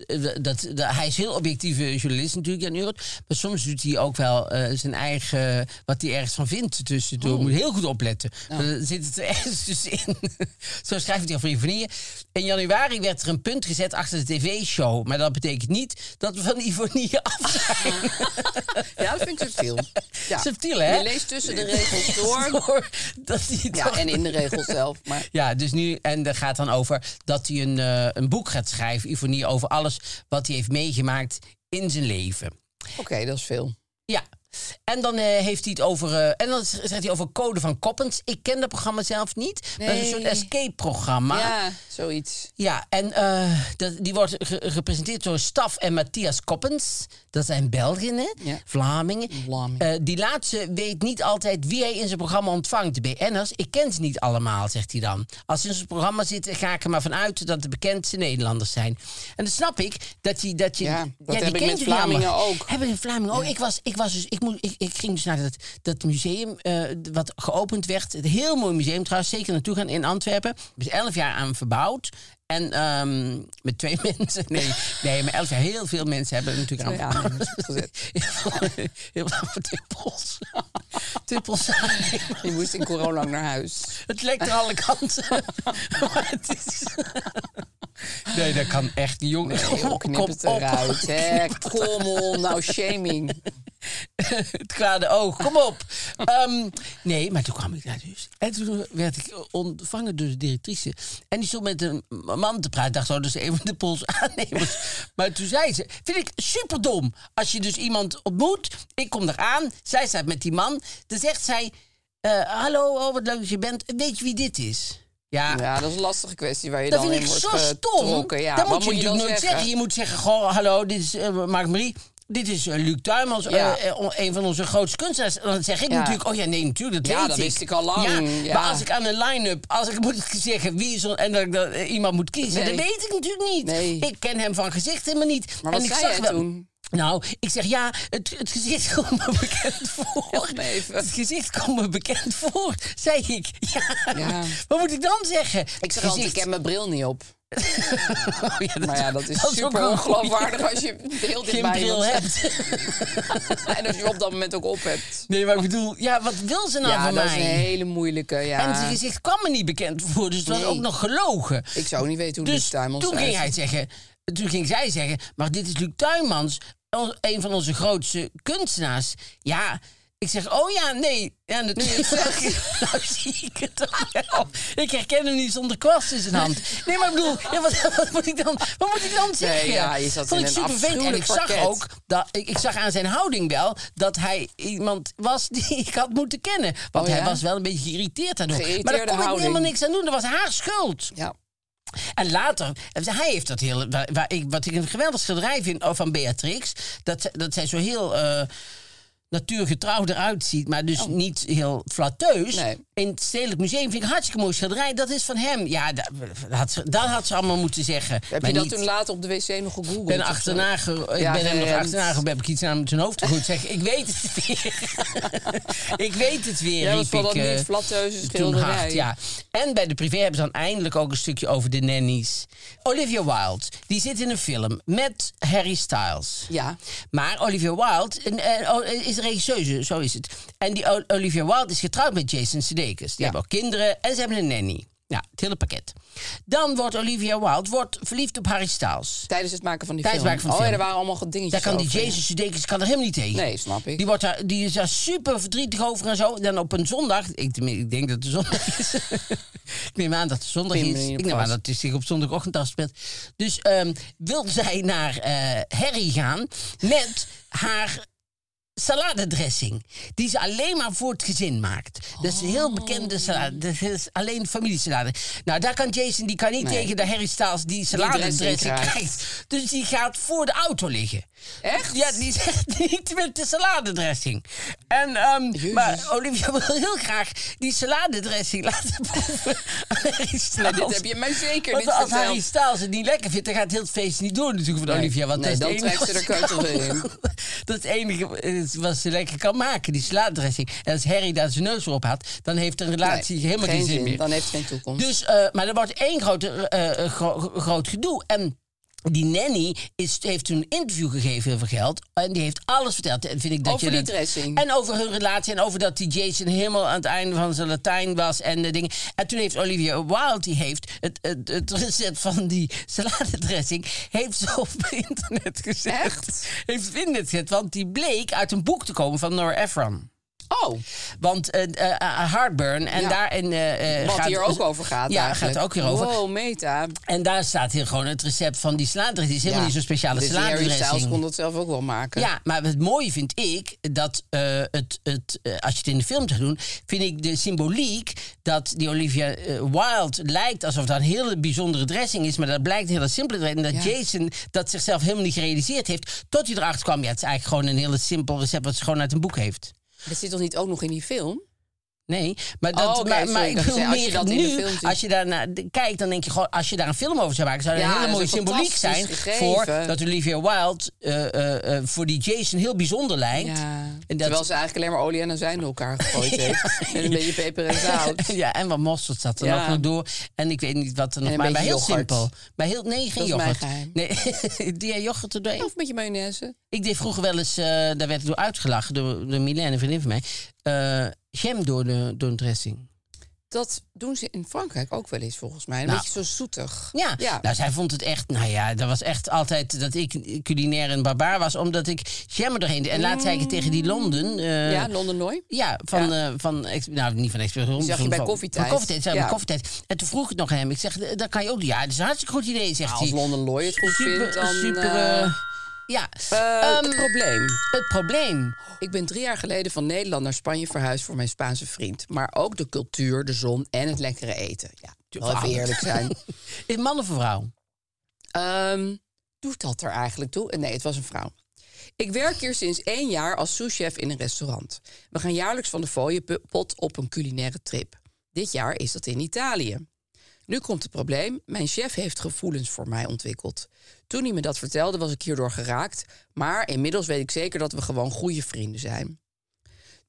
Speaker 3: dat, dat- hij is heel objectieve journalist natuurlijk, Jan Urot. Maar soms doet hij ook wel eh, zijn eigen... wat hij ergens van vindt tussendoor.
Speaker 1: Oh.
Speaker 3: Moet je heel goed opletten. Dan zit het er ergens dus in. Zo schrijft hij over Ivonie. In januari werd er een punt gezet achter de tv-show. Maar dat betekent niet dat we van Ivonie af zijn.
Speaker 1: Ja, dat vind ik subtiel. Ja.
Speaker 3: Subtiel, hè?
Speaker 1: Je leest tussen de regels door.
Speaker 3: Door dat hij
Speaker 1: Ja,
Speaker 3: toch-
Speaker 1: en in de regels zelf. Maar
Speaker 3: Ja, dus nu, en dat gaat dan over dat hij een, eh, een boek gaat schrijven, Ivonie, over alles wat hij heeft meegemaakt in zijn leven.
Speaker 1: oké, dat is veel.
Speaker 3: Ja. En dan eh, heeft hij het over. eh, en dan zegt hij over Code van Koppens. Ik ken dat programma zelf niet. Maar het is een soort
Speaker 1: Nee.
Speaker 3: escape-programma.
Speaker 1: Ja, zoiets.
Speaker 3: Ja, en eh, dat, die wordt ge- gepresenteerd door Staf en Matthias Koppens. Dat zijn Belgen, hè?
Speaker 1: Ja.
Speaker 3: Vlamingen.
Speaker 1: Vlamingen.
Speaker 3: Eh, die laatste weet niet altijd wie hij in zijn programma ontvangt. De BN'ers, ik ken ze niet allemaal, zegt hij dan. Als ze in zijn programma zitten, ga ik er maar vanuit dat de bekendste Nederlanders zijn. En dat snap ik, dat je... Dat je
Speaker 1: Ja, dat
Speaker 3: die
Speaker 1: heb ik
Speaker 3: kent
Speaker 1: met
Speaker 3: je jammer.
Speaker 1: Vlamingen ook.
Speaker 3: Hebben in Vlamingen ook. Ik, was, ik, was dus, ik, moest, ik, ik ging dus naar dat, dat museum eh, wat geopend werd. Een heel mooi museum trouwens. Zeker naartoe gaan in Antwerpen. Er is elf jaar aan verbouwd. En ehm, met twee mensen. Nee, nee maar elf jaar. Heel veel mensen hebben er natuurlijk aan
Speaker 1: Twee aan hebben ze
Speaker 3: verbouwd. Heel veel voor tippels. Tippels.
Speaker 1: Je moest in corona naar huis.
Speaker 3: Het lekt er alle kanten. maar het is... Nee, dat kan echt niet, jongen.
Speaker 1: Nee, knip
Speaker 3: Kom
Speaker 1: het
Speaker 3: op.
Speaker 1: eruit. Hè. Kom op, nou shaming.
Speaker 3: het kwade oog, kom op. Ehm, nee, maar toen kwam ik naar huis. En toen werd ik ontvangen door de directrice. En die stond met een man te praten. Ik dacht, oh, dat is een van de Pools aannemers. Maar toen zei ze, vind ik superdom. Als je dus iemand ontmoet, ik kom eraan. Zij staat met die man. Dan zegt zij, eh, hallo, oh, wat leuk dat je bent. Weet je wie dit is? Ja,
Speaker 1: Ja, dat is een lastige kwestie waar je
Speaker 3: dat
Speaker 1: dan
Speaker 3: vind
Speaker 1: in
Speaker 3: ik
Speaker 1: wordt
Speaker 3: zo stom.
Speaker 1: getrokken. Ja,
Speaker 3: dat
Speaker 1: wat
Speaker 3: moet je,
Speaker 1: dan
Speaker 3: natuurlijk nooit zeggen? Je moet zeggen, goh, hallo, dit is eh, Mark Marie. Dit is eh, Luc Tuimels,
Speaker 1: Ja.
Speaker 3: eh, eh, on- een van onze grootste kunstenaars. En dan zeg ik
Speaker 1: Ja.
Speaker 3: natuurlijk, oh ja, nee, natuurlijk, dat
Speaker 1: Ja,
Speaker 3: weet
Speaker 1: dat
Speaker 3: ik.
Speaker 1: wist ik al lang, ja.
Speaker 3: Maar als ik aan een line-up, als ik moet zeggen wie is er, en dat ik dan, eh, iemand moet kiezen,
Speaker 1: Nee.
Speaker 3: dat weet ik natuurlijk niet.
Speaker 1: Nee.
Speaker 3: Ik ken hem van gezicht helemaal niet.
Speaker 1: Maar
Speaker 3: en
Speaker 1: wat
Speaker 3: ik
Speaker 1: zei
Speaker 3: zag
Speaker 1: jij
Speaker 3: wel-
Speaker 1: toen?
Speaker 3: Nou, ik zeg ja, het, het gezicht komt me bekend voor.
Speaker 1: Help me even.
Speaker 3: Het gezicht komt me bekend voor, zei ik. Ja,
Speaker 1: Ja.
Speaker 3: wat moet ik dan zeggen?
Speaker 1: Ik zeg altijd, ik
Speaker 3: Gezicht.
Speaker 1: heb mijn bril niet op.
Speaker 3: Oh ja, dat,
Speaker 1: Maar ja, dat is
Speaker 3: dat ook
Speaker 1: super
Speaker 3: een goeie.
Speaker 1: ongeloofwaardig als je heel
Speaker 3: Geen
Speaker 1: dichtbij
Speaker 3: bril
Speaker 1: iemand
Speaker 3: hebt.
Speaker 1: staat. En als je op dat moment ook op hebt.
Speaker 3: Nee, maar ik bedoel, ja, wat wil ze nou
Speaker 1: ja,
Speaker 3: van
Speaker 1: dat
Speaker 3: mij?
Speaker 1: is een hele moeilijke, ja.
Speaker 3: En zijn gezicht kwam me niet bekend voor, dus het was
Speaker 1: Nee.
Speaker 3: ook nog gelogen.
Speaker 1: Ik zou ook niet weten hoe
Speaker 3: Dus
Speaker 1: Luc Tuimels
Speaker 3: toen ging
Speaker 1: eruit
Speaker 3: hij
Speaker 1: ziet.
Speaker 3: zeggen, toen ging zij zeggen, maar dit is Luc Tuinmans, on- een van onze grootste kunstenaars. Ja, ik zeg, oh ja, nee, ja, natuurlijk. nou zie ik het toch wel. Ik herken hem niet zonder kwast in zijn hand. Nee, maar ik bedoel, ja, wat, wat moet ik dan, wat moet ik dan zeggen?
Speaker 1: ja, je zat
Speaker 3: Vond
Speaker 1: in
Speaker 3: ik
Speaker 1: een
Speaker 3: super vet. En ik
Speaker 1: afschuwelijk
Speaker 3: zag
Speaker 1: parket.
Speaker 3: ook, dat, ik, ik zag aan zijn houding wel dat hij iemand was die ik had moeten kennen. Want
Speaker 1: Oh ja?
Speaker 3: hij was wel een beetje geïrriteerd daardoor. maar daar
Speaker 1: Geïrriteerde
Speaker 3: kon ik
Speaker 1: houding.
Speaker 3: helemaal niks aan doen. Dat was haar schuld.
Speaker 1: Ja.
Speaker 3: En later, hij heeft dat hele. Waar, waar ik, wat ik een geweldig schilderij vind oh, van Beatrix. Dat, ze- dat zij zo heel. eh, Natuurgetrouw eruit ziet, maar dus niet heel flatteus.
Speaker 1: Oh. Nee.
Speaker 3: In het Stedelijk Museum vind ik een hartstikke mooi schilderij. Dat is van hem. Ja, dat, dat, had, ze, dat had ze allemaal moeten zeggen.
Speaker 1: Heb
Speaker 3: maar
Speaker 1: je dat
Speaker 3: niet.
Speaker 1: toen later op de wc nog gegoogeld?
Speaker 3: Ik ben,
Speaker 1: of zo?
Speaker 3: achterna ge- ik
Speaker 1: Ja, eh,
Speaker 3: ben hem nog
Speaker 1: gerend.
Speaker 3: achterna ge- heb ik iets aan zijn hoofd gegooid. Zeg, ik weet het weer. ik weet het weer,
Speaker 1: Ja,
Speaker 3: riep
Speaker 1: dat vond dat
Speaker 3: ik, eh,
Speaker 1: niet flatteuze
Speaker 3: toen
Speaker 1: schilderij.
Speaker 3: hard, ja. En bij de privé hebben ze dan eindelijk ook een stukje over de nannies. Olivia Wilde, die zit in een film met Harry Styles.
Speaker 1: Ja.
Speaker 3: Maar Olivia Wilde en, en- oh, is regisseuse, zo is het. En die O- Olivia Wilde is getrouwd met Jason Sudeikis. Die hebben ook kinderen en ze hebben een nanny. Ja, het hele pakket. Dan wordt Olivia Wilde wordt verliefd op Harry Styles.
Speaker 1: Tijdens het maken van die
Speaker 3: Tijdens
Speaker 1: film.
Speaker 3: het maken van
Speaker 1: oh,
Speaker 3: de
Speaker 1: ja,
Speaker 3: film.
Speaker 1: er waren allemaal dingetjes
Speaker 3: Daar kan die
Speaker 1: over, ja.
Speaker 3: Jason Sudeikis kan er helemaal niet tegen.
Speaker 1: Nee, snap ik.
Speaker 3: Die, wordt daar, die is daar super verdrietig over en zo. En dan op een zondag, ik, tenmin- ik denk dat het zondag is. ik neem aan dat het zondag
Speaker 1: Pin me
Speaker 3: is.
Speaker 1: niet op
Speaker 3: Ik neem aan
Speaker 1: vast.
Speaker 3: dat hij zich op zondagochtend afspeelt. Dus ehm wil zij naar eh Harry gaan met haar saladedressing. Die ze alleen maar voor het gezin maakt. Dat is een
Speaker 1: Oh.
Speaker 3: heel bekende salade. Dat is alleen familiesalade. Nou, daar kan Jason die kan niet
Speaker 1: Nee.
Speaker 3: tegen de Harry Styles die
Speaker 1: dressing
Speaker 3: saladedressing
Speaker 1: krijgt.
Speaker 3: krijgt. Dus die gaat voor de auto liggen.
Speaker 1: Echt?
Speaker 3: Ja, die zegt niet met de saladedressing. En, ehm, maar Olivia wil heel graag die saladedressing laten proeven aan Harry
Speaker 1: Nou,
Speaker 3: Styles.
Speaker 1: dit heb je mij zeker
Speaker 3: Want
Speaker 1: niet
Speaker 3: als Harry
Speaker 1: verteld.
Speaker 3: Styles het niet lekker vindt, dan gaat heel het feest niet door natuurlijk van
Speaker 1: Nee,
Speaker 3: Olivia. Want
Speaker 1: nee,
Speaker 3: dat is
Speaker 1: dan
Speaker 3: het enige
Speaker 1: trekt ze
Speaker 3: wat
Speaker 1: de keutel
Speaker 3: kan.
Speaker 1: erin.
Speaker 3: Dat is het enige eh, wat ze lekker kan maken, die slaatdressing. En als Harry daar zijn neus erop had, dan heeft de relatie
Speaker 1: Nee,
Speaker 3: helemaal
Speaker 1: geen
Speaker 3: geen zin,
Speaker 1: zin.
Speaker 3: meer.
Speaker 1: Dan heeft het geen toekomst.
Speaker 3: Dus, eh, maar er wordt één groot, eh, eh, gro- groot gedoe. En die nanny is, heeft toen een interview gegeven over geld. En die heeft alles verteld. En vind ik dat
Speaker 1: Over
Speaker 3: je
Speaker 1: die
Speaker 3: dat-
Speaker 1: dressing.
Speaker 3: En over hun relatie. En over dat die Jason helemaal aan het einde van zijn Latijn was. En de dingen. En toen heeft Olivia Wilde, die heeft het, het, het recept van die saladedressing... heeft ze op internet gezet.
Speaker 1: Echt?
Speaker 3: Heeft op internet gezet. Want die bleek uit een boek te komen van Nora Ephron.
Speaker 1: Oh,
Speaker 3: Want eh eh, eh, Heartburn, en
Speaker 1: Ja.
Speaker 3: daarin... eh, eh,
Speaker 1: wat
Speaker 3: gaat-
Speaker 1: hier ook over gaat
Speaker 3: Ja,
Speaker 1: eigenlijk.
Speaker 3: gaat er ook weer over.
Speaker 1: Wow, meta.
Speaker 3: En daar staat hier gewoon het recept van die slaadressing. Het is helemaal
Speaker 1: Ja.
Speaker 3: niet zo'n speciale
Speaker 1: Dus die Harry Styles kon
Speaker 3: slaadressing.
Speaker 1: dat zelf ook wel maken.
Speaker 3: Ja, maar het mooie vind ik dat eh, het, het, eh, als je het in de film zou doen, vind ik de symboliek dat die Olivia eh, Wilde lijkt alsof dat een hele bijzondere dressing is, maar dat blijkt een hele simpele dressing. En dat
Speaker 1: Ja.
Speaker 3: Jason dat zichzelf helemaal niet gerealiseerd heeft, tot hij erachter kwam. Ja, het is eigenlijk gewoon een heel simpel recept wat ze gewoon uit een boek heeft.
Speaker 1: Dat zit toch niet ook nog in die film?
Speaker 3: Nee, maar dat
Speaker 1: Oh, oké,
Speaker 3: maar,
Speaker 1: sorry,
Speaker 3: maar
Speaker 1: ik
Speaker 3: ik
Speaker 1: dacht,
Speaker 3: bedoel
Speaker 1: als je
Speaker 3: meer
Speaker 1: dat in de
Speaker 3: nu,
Speaker 1: film ziet.
Speaker 3: als je daarna d- kijkt, dan denk je gewoon, als je daar een film over zou maken, zou dat
Speaker 1: Ja,
Speaker 3: een hele
Speaker 1: dat
Speaker 3: mooie
Speaker 1: is een
Speaker 3: symboliek zijn
Speaker 1: fantastisch gegeven.
Speaker 3: voor dat Olivia Wilde eh, eh, eh, voor die Jason heel bijzonder lijkt.
Speaker 1: Ja.
Speaker 3: En dat-
Speaker 1: Terwijl ze eigenlijk alleen maar olie en azijn door elkaar gegooid heeft. En een beetje peper en zout.
Speaker 3: ja, en wat mosterd zat er
Speaker 1: Ja.
Speaker 3: nog nog door. En ik weet niet wat er nog,
Speaker 1: een
Speaker 3: maar bij heel
Speaker 1: beetje yoghurt.
Speaker 3: simpel. Bij heel, nee, geen
Speaker 1: Dat is mijn
Speaker 3: yoghurt.
Speaker 1: geheim.
Speaker 3: Nee, die jij yoghurt er doorheen?
Speaker 1: Of met je mayonaise.
Speaker 3: Ik deed vroeger wel eens, eh, daar werd ik door uitgelachen, door, door Milène, een vriendin van mij, eh, jam door, de, door een dressing.
Speaker 1: Dat doen ze in Frankrijk ook wel eens volgens mij. Een
Speaker 3: Nou.
Speaker 1: beetje zo zoetig.
Speaker 3: Ja. nou zij vond het echt, nou ja, dat was echt altijd dat ik culinair een barbaar was, omdat ik jammer doorheen deed. En laat zei ik het tegen die Londen. eh,
Speaker 1: ja, Londen Nooi.
Speaker 3: ja, van, eh, van ex- nou niet van expert Londen.
Speaker 1: zag je
Speaker 3: van-
Speaker 1: bij
Speaker 3: van-
Speaker 1: Koffietijd.
Speaker 3: Van koffietijd, zei ik bij
Speaker 1: Ja.
Speaker 3: koffietijd. En toen vroeg ik het nog aan hem. Ik zeg, "Eh, dat kan je ook. doen." Ja, dat is een hartstikke goed idee, zegt
Speaker 1: Nou,
Speaker 3: hij.
Speaker 1: als Londen Nooi het goed vindt, dan...
Speaker 3: super.
Speaker 1: eh,
Speaker 3: eh, ja,
Speaker 1: eh,
Speaker 3: Ehm,
Speaker 1: het probleem.
Speaker 3: het probleem.
Speaker 1: Ik ben drie jaar geleden van Nederland naar Spanje verhuisd voor mijn Spaanse vriend. Maar ook de cultuur, de zon en het lekkere eten. Ja, wel even
Speaker 3: Wauw.
Speaker 1: eerlijk zijn.
Speaker 3: Is man of een vrouw?
Speaker 1: Ehm, doet dat er eigenlijk toe? Eh, Nee, het was een vrouw. Ik werk hier sinds één jaar als souschef in een restaurant. We gaan jaarlijks van de fooienpot op een culinaire trip. Dit jaar is dat in Italië. Nu komt het probleem. Mijn chef heeft gevoelens voor mij ontwikkeld. Toen hij me dat vertelde, was ik hierdoor geraakt. Maar inmiddels weet ik zeker dat we gewoon goede vrienden zijn.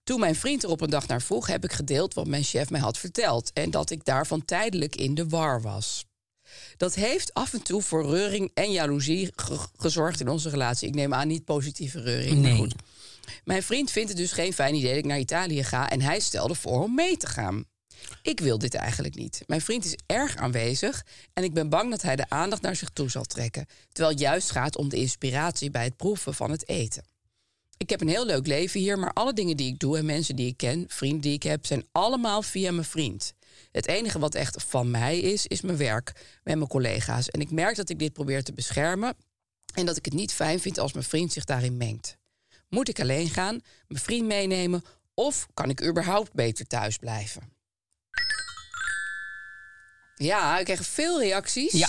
Speaker 1: Toen mijn vriend er op een dag naar vroeg, heb ik gedeeld wat mijn chef mij had verteld. En dat ik daarvan tijdelijk in de war was.
Speaker 3: Oh,
Speaker 1: Dat heeft af en toe voor reuring en jaloezie ge- gezorgd in onze relatie. Ik neem aan niet positieve reuring. maar
Speaker 3: Nee.
Speaker 1: goed. Mijn vriend vindt het dus geen fijn idee dat ik naar Italië ga en hij stelde voor om mee te gaan. Ik wil dit eigenlijk niet. Mijn vriend is erg aanwezig en ik ben bang dat hij de aandacht naar zich toe zal trekken, terwijl het juist gaat om de inspiratie bij het proeven van het eten. Ik heb een heel leuk leven hier, maar alle dingen die ik doe en mensen die ik ken, vrienden die ik heb, zijn allemaal via mijn vriend. Het enige wat echt van mij is, is mijn werk met mijn collega's. En ik merk dat ik dit probeer te beschermen en dat ik het niet fijn vind als mijn vriend zich daarin mengt. Moet ik alleen gaan, mijn vriend meenemen of kan ik überhaupt beter thuis blijven? Ja, ik kreeg veel reacties.
Speaker 3: Ja.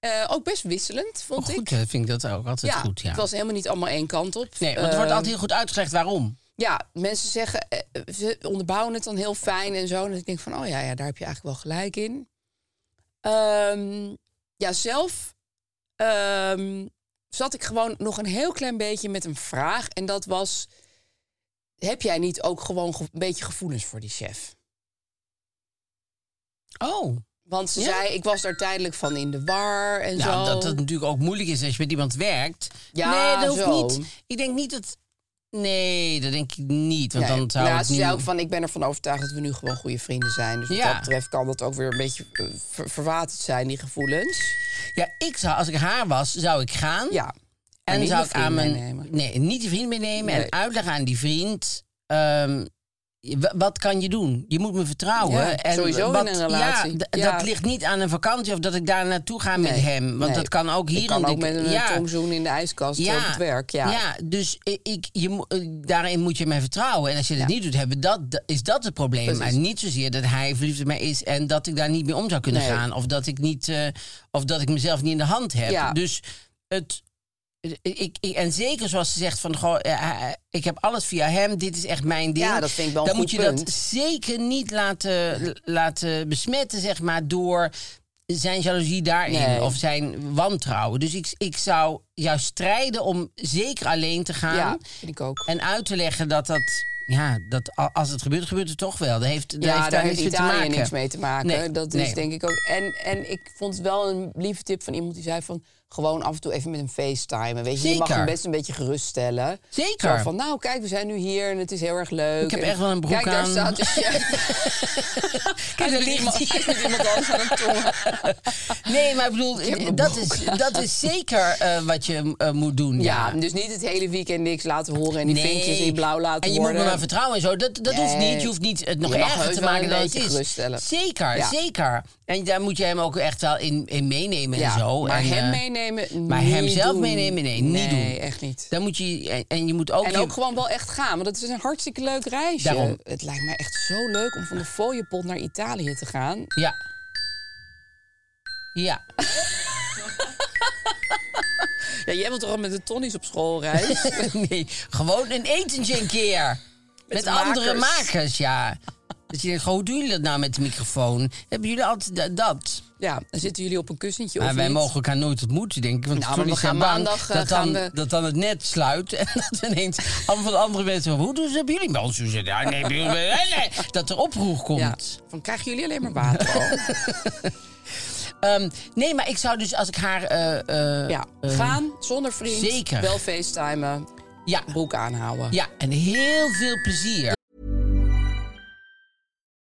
Speaker 1: Eh, ook best wisselend, vond
Speaker 3: Oh, goed,
Speaker 1: ik.
Speaker 3: eh, vind ik dat ook altijd
Speaker 1: ja,
Speaker 3: goed. Ja.
Speaker 1: het was helemaal niet allemaal één kant op.
Speaker 3: Nee, want er wordt
Speaker 1: Eh,
Speaker 3: altijd heel goed uitgelegd waarom.
Speaker 1: ja, mensen zeggen, eh, ze onderbouwen het dan heel fijn en zo. En ik denk van, oh ja, ja daar heb je eigenlijk wel gelijk in. Ehm, ja, zelf ehm, zat ik gewoon nog een heel klein beetje met een vraag. En dat was, heb jij niet ook gewoon ge- een beetje gevoelens voor die chef?
Speaker 3: Oh.
Speaker 1: Want ze
Speaker 3: Ja.
Speaker 1: zei, ik was daar tijdelijk van in de war en
Speaker 3: Ja,
Speaker 1: zo.
Speaker 3: Nou, dat het natuurlijk ook moeilijk is als je met iemand werkt.
Speaker 1: Ja,
Speaker 3: nee, dat
Speaker 1: zo.
Speaker 3: hoeft niet. Ik denk niet dat. Nee, dat denk ik niet. Want
Speaker 1: Nee,
Speaker 3: dan zou
Speaker 1: ja,
Speaker 3: het
Speaker 1: ze
Speaker 3: niet...
Speaker 1: zei ook van, ik ben ervan overtuigd dat we nu gewoon goede vrienden zijn. Dus wat
Speaker 3: Ja.
Speaker 1: dat betreft kan dat ook weer een beetje eh, ver- verwaterd zijn, die gevoelens.
Speaker 3: Ja, ik zou, als ik haar was, zou ik gaan.
Speaker 1: Ja.
Speaker 3: en
Speaker 1: niet
Speaker 3: zou
Speaker 1: mijn
Speaker 3: ik aan
Speaker 1: vriend
Speaker 3: mijn.
Speaker 1: meenemen.
Speaker 3: Nee, niet die vriend meenemen.
Speaker 1: Nee.
Speaker 3: En uitleggen aan die vriend. ehm, je- wa- wat kan je doen? Je moet me vertrouwen.
Speaker 1: Ja, sowieso in een relatie.
Speaker 3: Ja, d-
Speaker 1: Ja.
Speaker 3: Dat ligt niet aan een vakantie of dat ik daar naartoe ga met
Speaker 1: Nee,
Speaker 3: hem. Want
Speaker 1: nee.
Speaker 3: dat kan ook hier.
Speaker 1: Ik kan
Speaker 3: want
Speaker 1: ook met een
Speaker 3: ja,
Speaker 1: eh, tongzoen in de ijskast eh, op het werk. Ja.
Speaker 3: dus i- ik, je, mo- eh, daarin moet je mij vertrouwen. En als je dat niet doet, hebben dat, da- is dat het probleem.
Speaker 1: Precies.
Speaker 3: En niet zozeer dat hij verliefd op mij is en dat ik daar niet mee om zou kunnen
Speaker 1: Nee.
Speaker 3: gaan. Of dat ik, niet, eh, of dat ik mezelf niet in de hand heb.
Speaker 1: Ja.
Speaker 3: Dus het. eh, Ik, ik, en zeker zoals ze zegt van, goh, eh, hij- ik heb alles via hem, dit is echt mijn ding.
Speaker 1: Ja, dat vind ik wel een
Speaker 3: Dan
Speaker 1: goed
Speaker 3: moet je
Speaker 1: punt.
Speaker 3: dat zeker niet laten, laten besmetten, zeg maar, door zijn jaloezie daarin
Speaker 1: Nee.
Speaker 3: of zijn wantrouwen. Dus ik, ik zou juist strijden om zeker alleen te gaan
Speaker 1: ja, vind ik ook.
Speaker 3: en uit te leggen dat dat, ja, dat a- als het gebeurt, gebeurt het toch wel. Dat heeft, dat
Speaker 1: Ja,
Speaker 3: heeft
Speaker 1: daar
Speaker 3: daar
Speaker 1: heeft
Speaker 3: niks mee te
Speaker 1: Italië
Speaker 3: maken.
Speaker 1: niks mee te maken.
Speaker 3: Nee,
Speaker 1: dat is
Speaker 3: nee.
Speaker 1: denk ik ook. En, en ik vond het wel een lieve tip van iemand die zei van... gewoon af en toe even met hem facetimen. Weet je, je mag
Speaker 3: Zeker.
Speaker 1: hem best een beetje geruststellen.
Speaker 3: Zeker.
Speaker 1: Zo van, nou kijk, we zijn nu hier en het is heel erg leuk.
Speaker 3: Ik heb
Speaker 1: En
Speaker 3: echt wel een broek
Speaker 1: kijk,
Speaker 3: aan.
Speaker 1: daar staat de chef.
Speaker 3: Kijk, daar
Speaker 1: Met
Speaker 3: ligt
Speaker 1: iemand-
Speaker 3: hij.
Speaker 1: met iemand anders aan het tongen.
Speaker 3: Nee, maar ik bedoel, dat is, dat is zeker eh, wat je eh, moet doen.
Speaker 1: Ja,
Speaker 3: ja.
Speaker 1: dus niet het hele weekend niks laten horen... en die vinkjes in blauw laten
Speaker 3: En je
Speaker 1: worden.
Speaker 3: moet me maar vertrouwen en zo. Dat, dat hoeft
Speaker 1: Nee.
Speaker 3: niet. Je hoeft niet het nog
Speaker 1: Je mag
Speaker 3: erger
Speaker 1: heus
Speaker 3: te
Speaker 1: wel
Speaker 3: maken
Speaker 1: een
Speaker 3: dan het
Speaker 1: beetje
Speaker 3: is.
Speaker 1: geruststellen.
Speaker 3: Zeker,
Speaker 1: Ja.
Speaker 3: zeker. En daar moet je hem ook echt wel in, in meenemen
Speaker 1: Ja,
Speaker 3: en zo.
Speaker 1: maar
Speaker 3: en,
Speaker 1: hem
Speaker 3: eh,
Speaker 1: meenemen,
Speaker 3: Maar
Speaker 1: niet
Speaker 3: hem zelf
Speaker 1: doen.
Speaker 3: meenemen, nee, niet doen.
Speaker 1: Nee, echt niet.
Speaker 3: Dan moet je, en, en je moet ook...
Speaker 1: En
Speaker 3: je-
Speaker 1: ook gewoon wel echt gaan, want het is een hartstikke leuk reisje.
Speaker 3: Daarom.
Speaker 1: Het lijkt mij echt zo leuk om van de fooiepot naar Italië te gaan.
Speaker 3: Ja. Ja.
Speaker 1: Ja, jij wilt toch al met de tonnies op schoolreis?
Speaker 3: nee, gewoon een etentje een keer. Met,
Speaker 1: makers.
Speaker 3: andere makers, ja. Dat je denkt, goh, hoe doen jullie dat nou met de microfoon? Hebben jullie altijd da- dat?
Speaker 1: ja, dan zitten jullie op een kussentje
Speaker 3: Maar
Speaker 1: of
Speaker 3: wij
Speaker 1: niet?
Speaker 3: mogen elkaar nooit ontmoeten, denk ik. Want
Speaker 1: Nou, maar
Speaker 3: toen
Speaker 1: we
Speaker 3: is hij
Speaker 1: gaan
Speaker 3: bang
Speaker 1: maandag, eh,
Speaker 3: dat, dan,
Speaker 1: gaan we-
Speaker 3: dat dan het net sluit. En dat we ineens allemaal van andere mensen... Hoe doen ze dat bij jullie? Bij ons doen ze dat. Nee, bij jullie- nee, nee." Dat er oproer komt.
Speaker 1: Ja, van krijgen jullie alleen maar water. al?
Speaker 3: Ehm, nee, maar ik zou dus als ik haar... eh, eh,
Speaker 1: ja,
Speaker 3: eh,
Speaker 1: gaan zonder vriend.
Speaker 3: zeker.
Speaker 1: Wel facetimen,
Speaker 3: ja,
Speaker 1: broek aanhouden.
Speaker 3: ja, en heel veel plezier.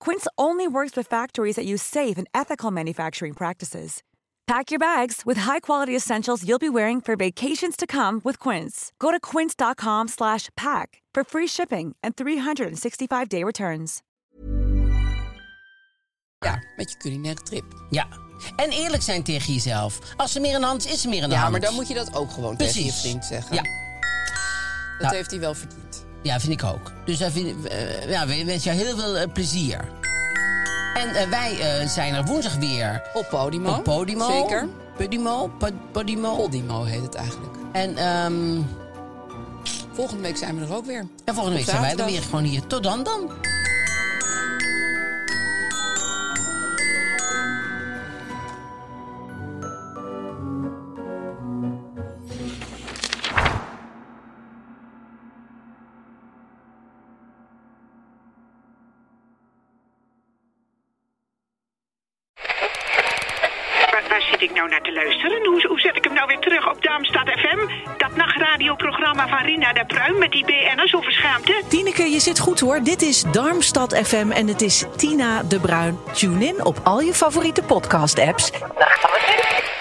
Speaker 4: Quince only works with factories that use safe and ethical manufacturing practices. Pack your bags with high-quality essentials you'll be wearing for vacations to come with Quince. Go to quince.com/pack slash pack for free shipping and 365-day returns.
Speaker 1: Ja, met je culinaire trip.
Speaker 3: Ja. En eerlijk zijn tegen jezelf. Als er meer aan de hand is, is er meer aan de
Speaker 1: Ja,
Speaker 3: hand.
Speaker 1: maar dan moet je dat ook gewoon tegen je
Speaker 3: Precies.
Speaker 1: vriend zeggen.
Speaker 3: Ja.
Speaker 1: Dat
Speaker 3: Nou.
Speaker 1: heeft hij wel verdiend.
Speaker 3: Ja, vind ik ook. Dus daar vind, eh, ja, we wensen jou heel veel eh, plezier. En eh, wij eh, zijn er woensdag weer
Speaker 1: Op Podimo.
Speaker 3: op Podimo.
Speaker 1: Zeker.
Speaker 3: Podimo, Pod- Podimo.
Speaker 1: Podimo heet het eigenlijk.
Speaker 3: En, ehm,
Speaker 1: Volgende week zijn we er ook weer.
Speaker 3: en volgende week
Speaker 1: Op
Speaker 3: zijn wij er
Speaker 1: zaterdag.
Speaker 3: weer gewoon hier. Tot dan dan.
Speaker 5: Waar, waar zit ik nou naar te luisteren? Hoe, hoe zet ik hem nou weer terug op Darmstad FM? Dat nachtradioprogramma van Rina de Pruim met die BN'ers over schaamte?
Speaker 6: Tineke, je zit goed hoor. Dit is Darmstad FM en het is Tina de Bruin. Tune in op al je favoriete podcast-apps.
Speaker 7: Nachtradioprogramma.